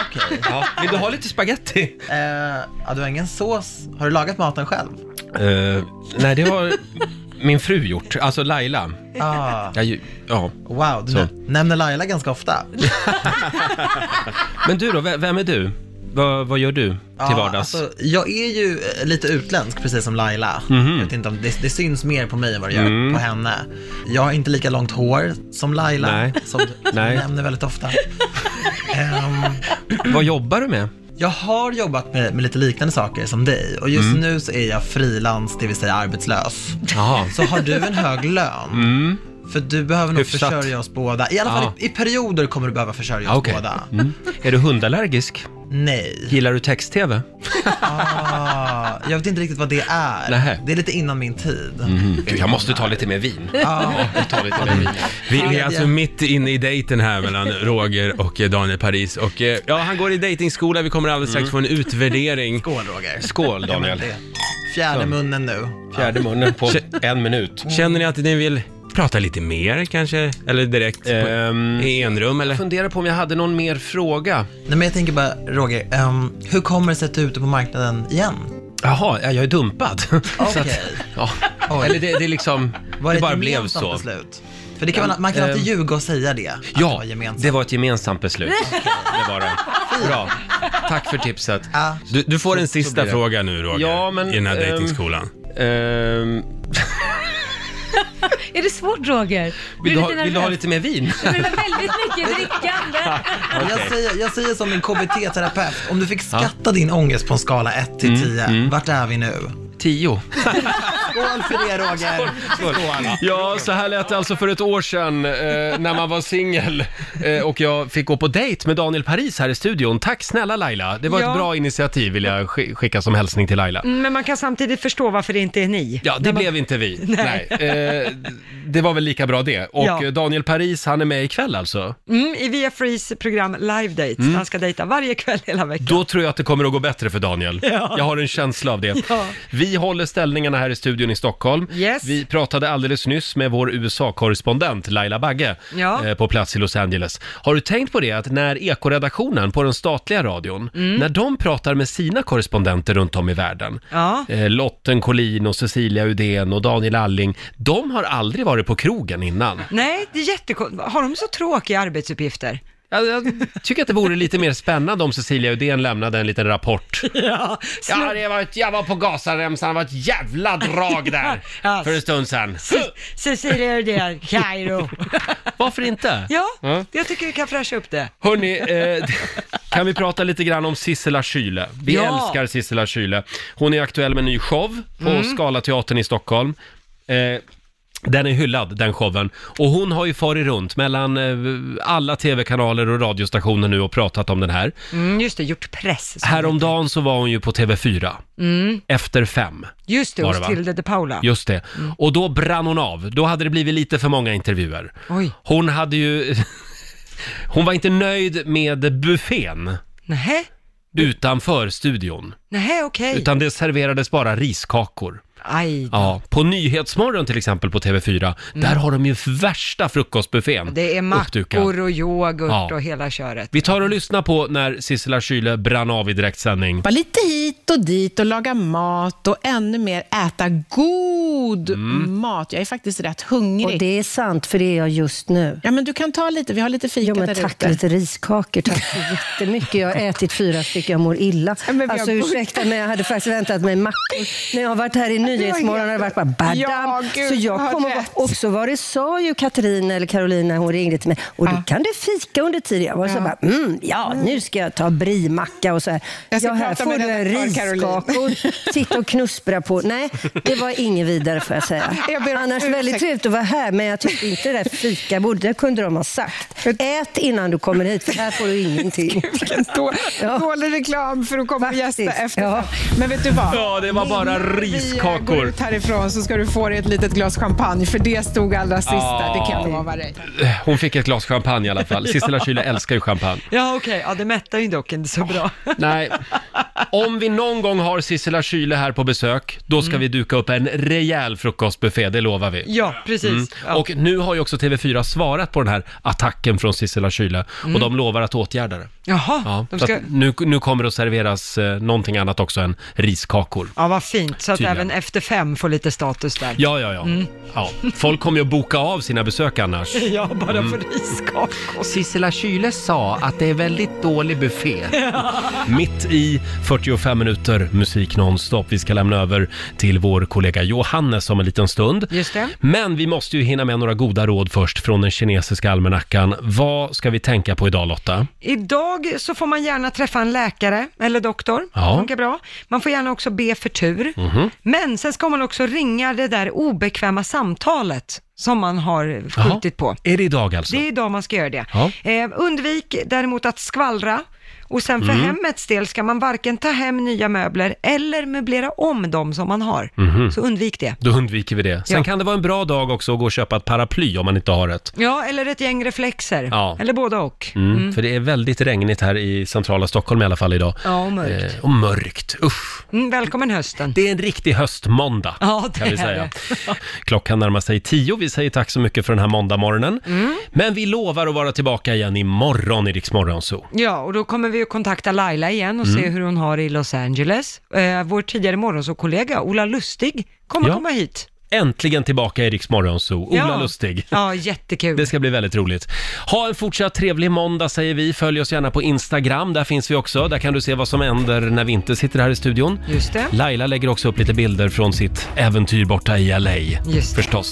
Ja. Vill du ha lite spaghetti?
Eh, ja, du har ingen sås. Har du lagat maten själv?
Eh, nej, det har min fru gjort, alltså Laila.
Ah.
Jag, ju- ja.
Wow, du
Så.
nä- nämner Laila ganska ofta.
Men du då, ve- vem är du? Vad- vad gör du till
Ja,
vardags?
alltså, jag är ju eh, lite utländsk, precis som Laila.
Mhm.
Jag vet inte om det, det syns mer på mig än vad det gör
Mm.
på henne. Jag har inte lika långt hår som Laila,
Nej.
som du
Nej.
nämner väldigt ofta. Ehm,
Vad jobbar du med?
jag har jobbat med, med lite liknande saker som dig och just
Mm.
nu så är jag frilans, det vill säga arbetslös.
Jaha.
Så har du en hög lön,
Mm.
för du behöver nog
Hyfsat.
försörja oss båda. I alla fall
Ja.
i, i perioder kommer du behöva försörja oss
Ah, okej.
båda.
Mm. Är du hundallergisk?
Nej.
Gillar du text-tv?
Ah, jag vet inte riktigt vad det är.
Nähä. Mhm.
Det är lite innan min tid.
Gud, jag måste ta lite mer vin.
Ja.
Jag tar lite mer vin.
Vi vi är alltså mitt inne i dejten här mellan Roger och eh, Daniel Paris. Och eh, ja, han går i dejtingskola, vi kommer alldeles
Mm.
strax få en utvärdering.
Skål Roger!
Skål Daniel!
Fjärde
Så.
munnen nu.
Fjärde munnen på en minut.
Känner ni att ni vill prata lite mer kanske? Eller direkt
Ehm.
på, i enrum eller?
Funderar på om jag hade någon mer fråga.
Nej, men jag tänker bara, Roger, ehm, hur kommer det sig att du är ute på marknaden igen?
Jaha, ja, jag är dumpad. Så att- ja.
Oj.
Eller det, det är liksom,
Var
det,
det ett
bara blev
gemensamt
så.
beslut? För det kan man, man kan alltid
Ehm,
ljuga och säga det. att det
Ja,
var gemensamt.
det var ett gemensamt beslut. Det var det. Bra. Tack för tipset.
Du, du får en
Så- så blir
sista
det.
fråga nu Roger,
Ja, men,
i den här
ehm,
dejtingskolan.
Är det svårt Roger?
Vill du, ha,
lite
vill du ha
nervös?
lite mer vin?
Det blir väldigt mycket drickande.
jag, säger, jag säger som min KBT-terapeut, om du fick skatta din ångest på en skala 1 till 10, vart är vi nu?
10.
Skål för det Roger!
Ja, så här lät det alltså för ett år sedan eh, när man var singel eh, och jag fick gå på dejt med Daniel Paris här i studion. Tack snälla Laila, det var
Ja.
ett bra initiativ vill jag sk- skicka som hälsning till Laila.
Mm, Men man kan samtidigt förstå varför det inte är ni.
Ja, det blev inte vi. Nej.
Nej.
Eh, det var väl lika bra det. Och
Ja.
eh, Daniel Paris, han är med ikväll alltså.
Mm, I Via Frees program Live Date, där han ska dejta varje kväll hela veckan.
Mm. Då tror jag att det kommer att gå bättre för Daniel.
Ja.
Jag har en känsla av det.
Ja.
Vi håller ställningarna här i studion i Stockholm.
Yes.
Vi pratade alldeles nyss med vår USA-korrespondent Laila Bagge
Ja.
eh, på plats i Los Angeles. Har du tänkt på det att när ekoredaktionen på den statliga radion,
Mm.
när de pratar med sina korrespondenter runt om i världen,
Ja.
eh, Lotten Collin och Cecilia Udén och Daniel Alling, de har aldrig varit på krogen innan.
Nej, det är jättekonstigt. Har de så tråkiga arbetsuppgifter?
Jag, tycker att det vore lite mer spännande om Cecilia Udén lämnade en liten rapport
Ja,
Ja, det var ett, jag var på Gazaremsan, det var ett jävla drag där
Ja.
för en stund sedan.
Cecilia Rydén, Kairo.
Varför inte?
Ja,
Ja.
jag tycker vi kan fräscha upp det.
Hörni, eh, kan vi prata lite grann om Sissela Kyle? Vi
Ja.
älskar Sissela Kyle. Hon är aktuell med en ny show på
Mm.
Scalateatern i Stockholm. Eh, den är hyllad, den showen. Och hon har ju farit runt mellan eh, alla tv-kanaler och radiostationer nu och pratat om den här.
Mm, just det, gjort press. så.
Häromdagen så var hon ju på TV4,
Mm,
efter fem.
just det,
var
hos
va?
Tilde de Paula.
Just det.
Mm.
Och då brann hon av. Då hade det blivit lite för många intervjuer.
Oj.
Hon hade ju... Hon var inte nöjd med buffén
Nähä,
utanför studion.
nähä, okej.
Utan det serverades bara riskakor.
Aj,
Ja, på Nyhetsmorgon till exempel på TV4, där har de ju värsta frukostbuffén
Mm. det är mackor
uppdukad.
och yoghurt
Ja.
och hela köret.
Vi tar och lyssnar på när Sissela Kyle brann av i direktsändning.
Var lite hit och dit och laga mat och ännu mer äta god mat. Jag är faktiskt rätt hungrig.
Och det är sant, för det är jag just nu.
Ja, men du kan ta lite. Vi har lite fika
Jo, men
där
tack,
ute.
lite riskakor. Tack så jättemycket. Jag har ätit fyra stycken, jag mår illa.
men vi har
Alltså
god-
ursäkta, men jag hade faktiskt väntat mig mackor. När jag har varit här i Nyhetsmorgon har det varit bara badam.
Ja, gud,
så
har
jag kommer
rätt.
vara... Och så var det, sa ju Katrin eller Carolina, hon ringde till mig, och då kan du fika under tiden. Jag var så bara, mm, ja, nu ska jag ta brimacka och så här.
Jag ska
ja, här
prata
får
med
du en
redaktör Caroline."
riskakor, sitta och knuspra på. Nej, det var inget vidare får jag säga.
Jag ber om
Annars
ursäkt.
väldigt trevligt att vara här, men jag tyckte inte det där fikabordet, det kunde de ha sagt. Ät innan du kommer hit, för här får du ingenting.
Vilken då, dålig reklam för att komma och gästa efter. Men vet du vad?
Ja, det var bara
Innan
riskakor.
vi går ut härifrån så ska du få dig ett litet glas champagne, för det stod allra sista.
Ja.
Det kan jag lova dig.
Hon fick ett glas champagne i alla fall. Sissela Kyle älskar ju champagne.
Ja, okej. Ja, det mättar ju dock inte så bra.
Nej. Om vi någon gång har Sissela Kyle här på besök, då ska vi
Mm.
duka upp en rejäl frukostbuffé, det lovar vi.
Ja, precis. Ja.
Mm. Och nu har ju också TV4 svarat på den här attacken från Sissela Kyle
Mm.
och de lovar att åtgärda det.
Jaha,
Ja,
de
så
ska...
att nu, nu kommer det att serveras eh, någonting annat också än riskakor.
Ja, vad fint. Så att
Tydligen.
även efter fem får lite status där.
Ja, ja, ja.
Mm.
ja. Folk kommer ju att boka av sina besök annars.
Ja, bara
Mm.
för riskakor.
Sissela Kyle sa att det är väldigt dålig buffé. Mitt i 45 minuter musik nonstop. Vi ska lämna över till vår kollega Johannes om en liten stund.
Just det.
Men vi måste ju hinna med några goda råd först från den kinesiska almanackan. Vad ska vi tänka på idag Lotta?
Idag så får man gärna träffa en läkare eller doktor.
Ja.
Det funkar bra. Man får gärna också be för tur.
Mhm.
Men sen ska man också ringa det där obekväma samtalet som man har
Jaha.
skjutit på.
Är det idag alltså?
Det är idag man ska göra det.
Ja.
Eh, undvik däremot att skvallra Och sen för
Mm.
hemmets del ska man varken ta hem nya möbler eller möblera om dem som man har.
Mhm.
Så undvik det.
Då undviker vi det. Sen
Ja.
kan det vara en bra dag också att gå och köpa ett paraply om man inte har ett.
Ja, eller ett gäng reflexer.
Ja.
Eller båda och.
Mm, För det är väldigt regnigt här i centrala Stockholm i alla fall idag.
Ja, och mörkt.
Eh, och mörkt. Usch.
Mm, välkommen hösten.
Det är en riktig höstmåndag,
Ja, det
kan vi
är
säga.
det.
Klockan närmar sig tio. Vi säger tack så mycket för den här måndagmorgonen.
Mm.
Men vi lovar att vara tillbaka igen imorgon i Rix Morgon Zoo.
Ja, och då kommer vi att kontakta Laila igen och se
Mm.
hur hon har det i Los Angeles. Eh, vår tidigare morgonsåkollega Ola Lustig kommer
Ja.
komma hit.
Äntligen tillbaka i Rix Morgon Zoo. Ola
Ja.
Lustig.
Ja, jättekul.
Det ska bli väldigt roligt. Ha en fortsatt trevlig måndag säger vi. Följ oss gärna på Instagram, där finns vi också. Där kan du se vad som händer när vi inte sitter här i studion.
Just det.
Laila lägger också upp lite bilder från sitt äventyr borta i LA.
Just
Förstås.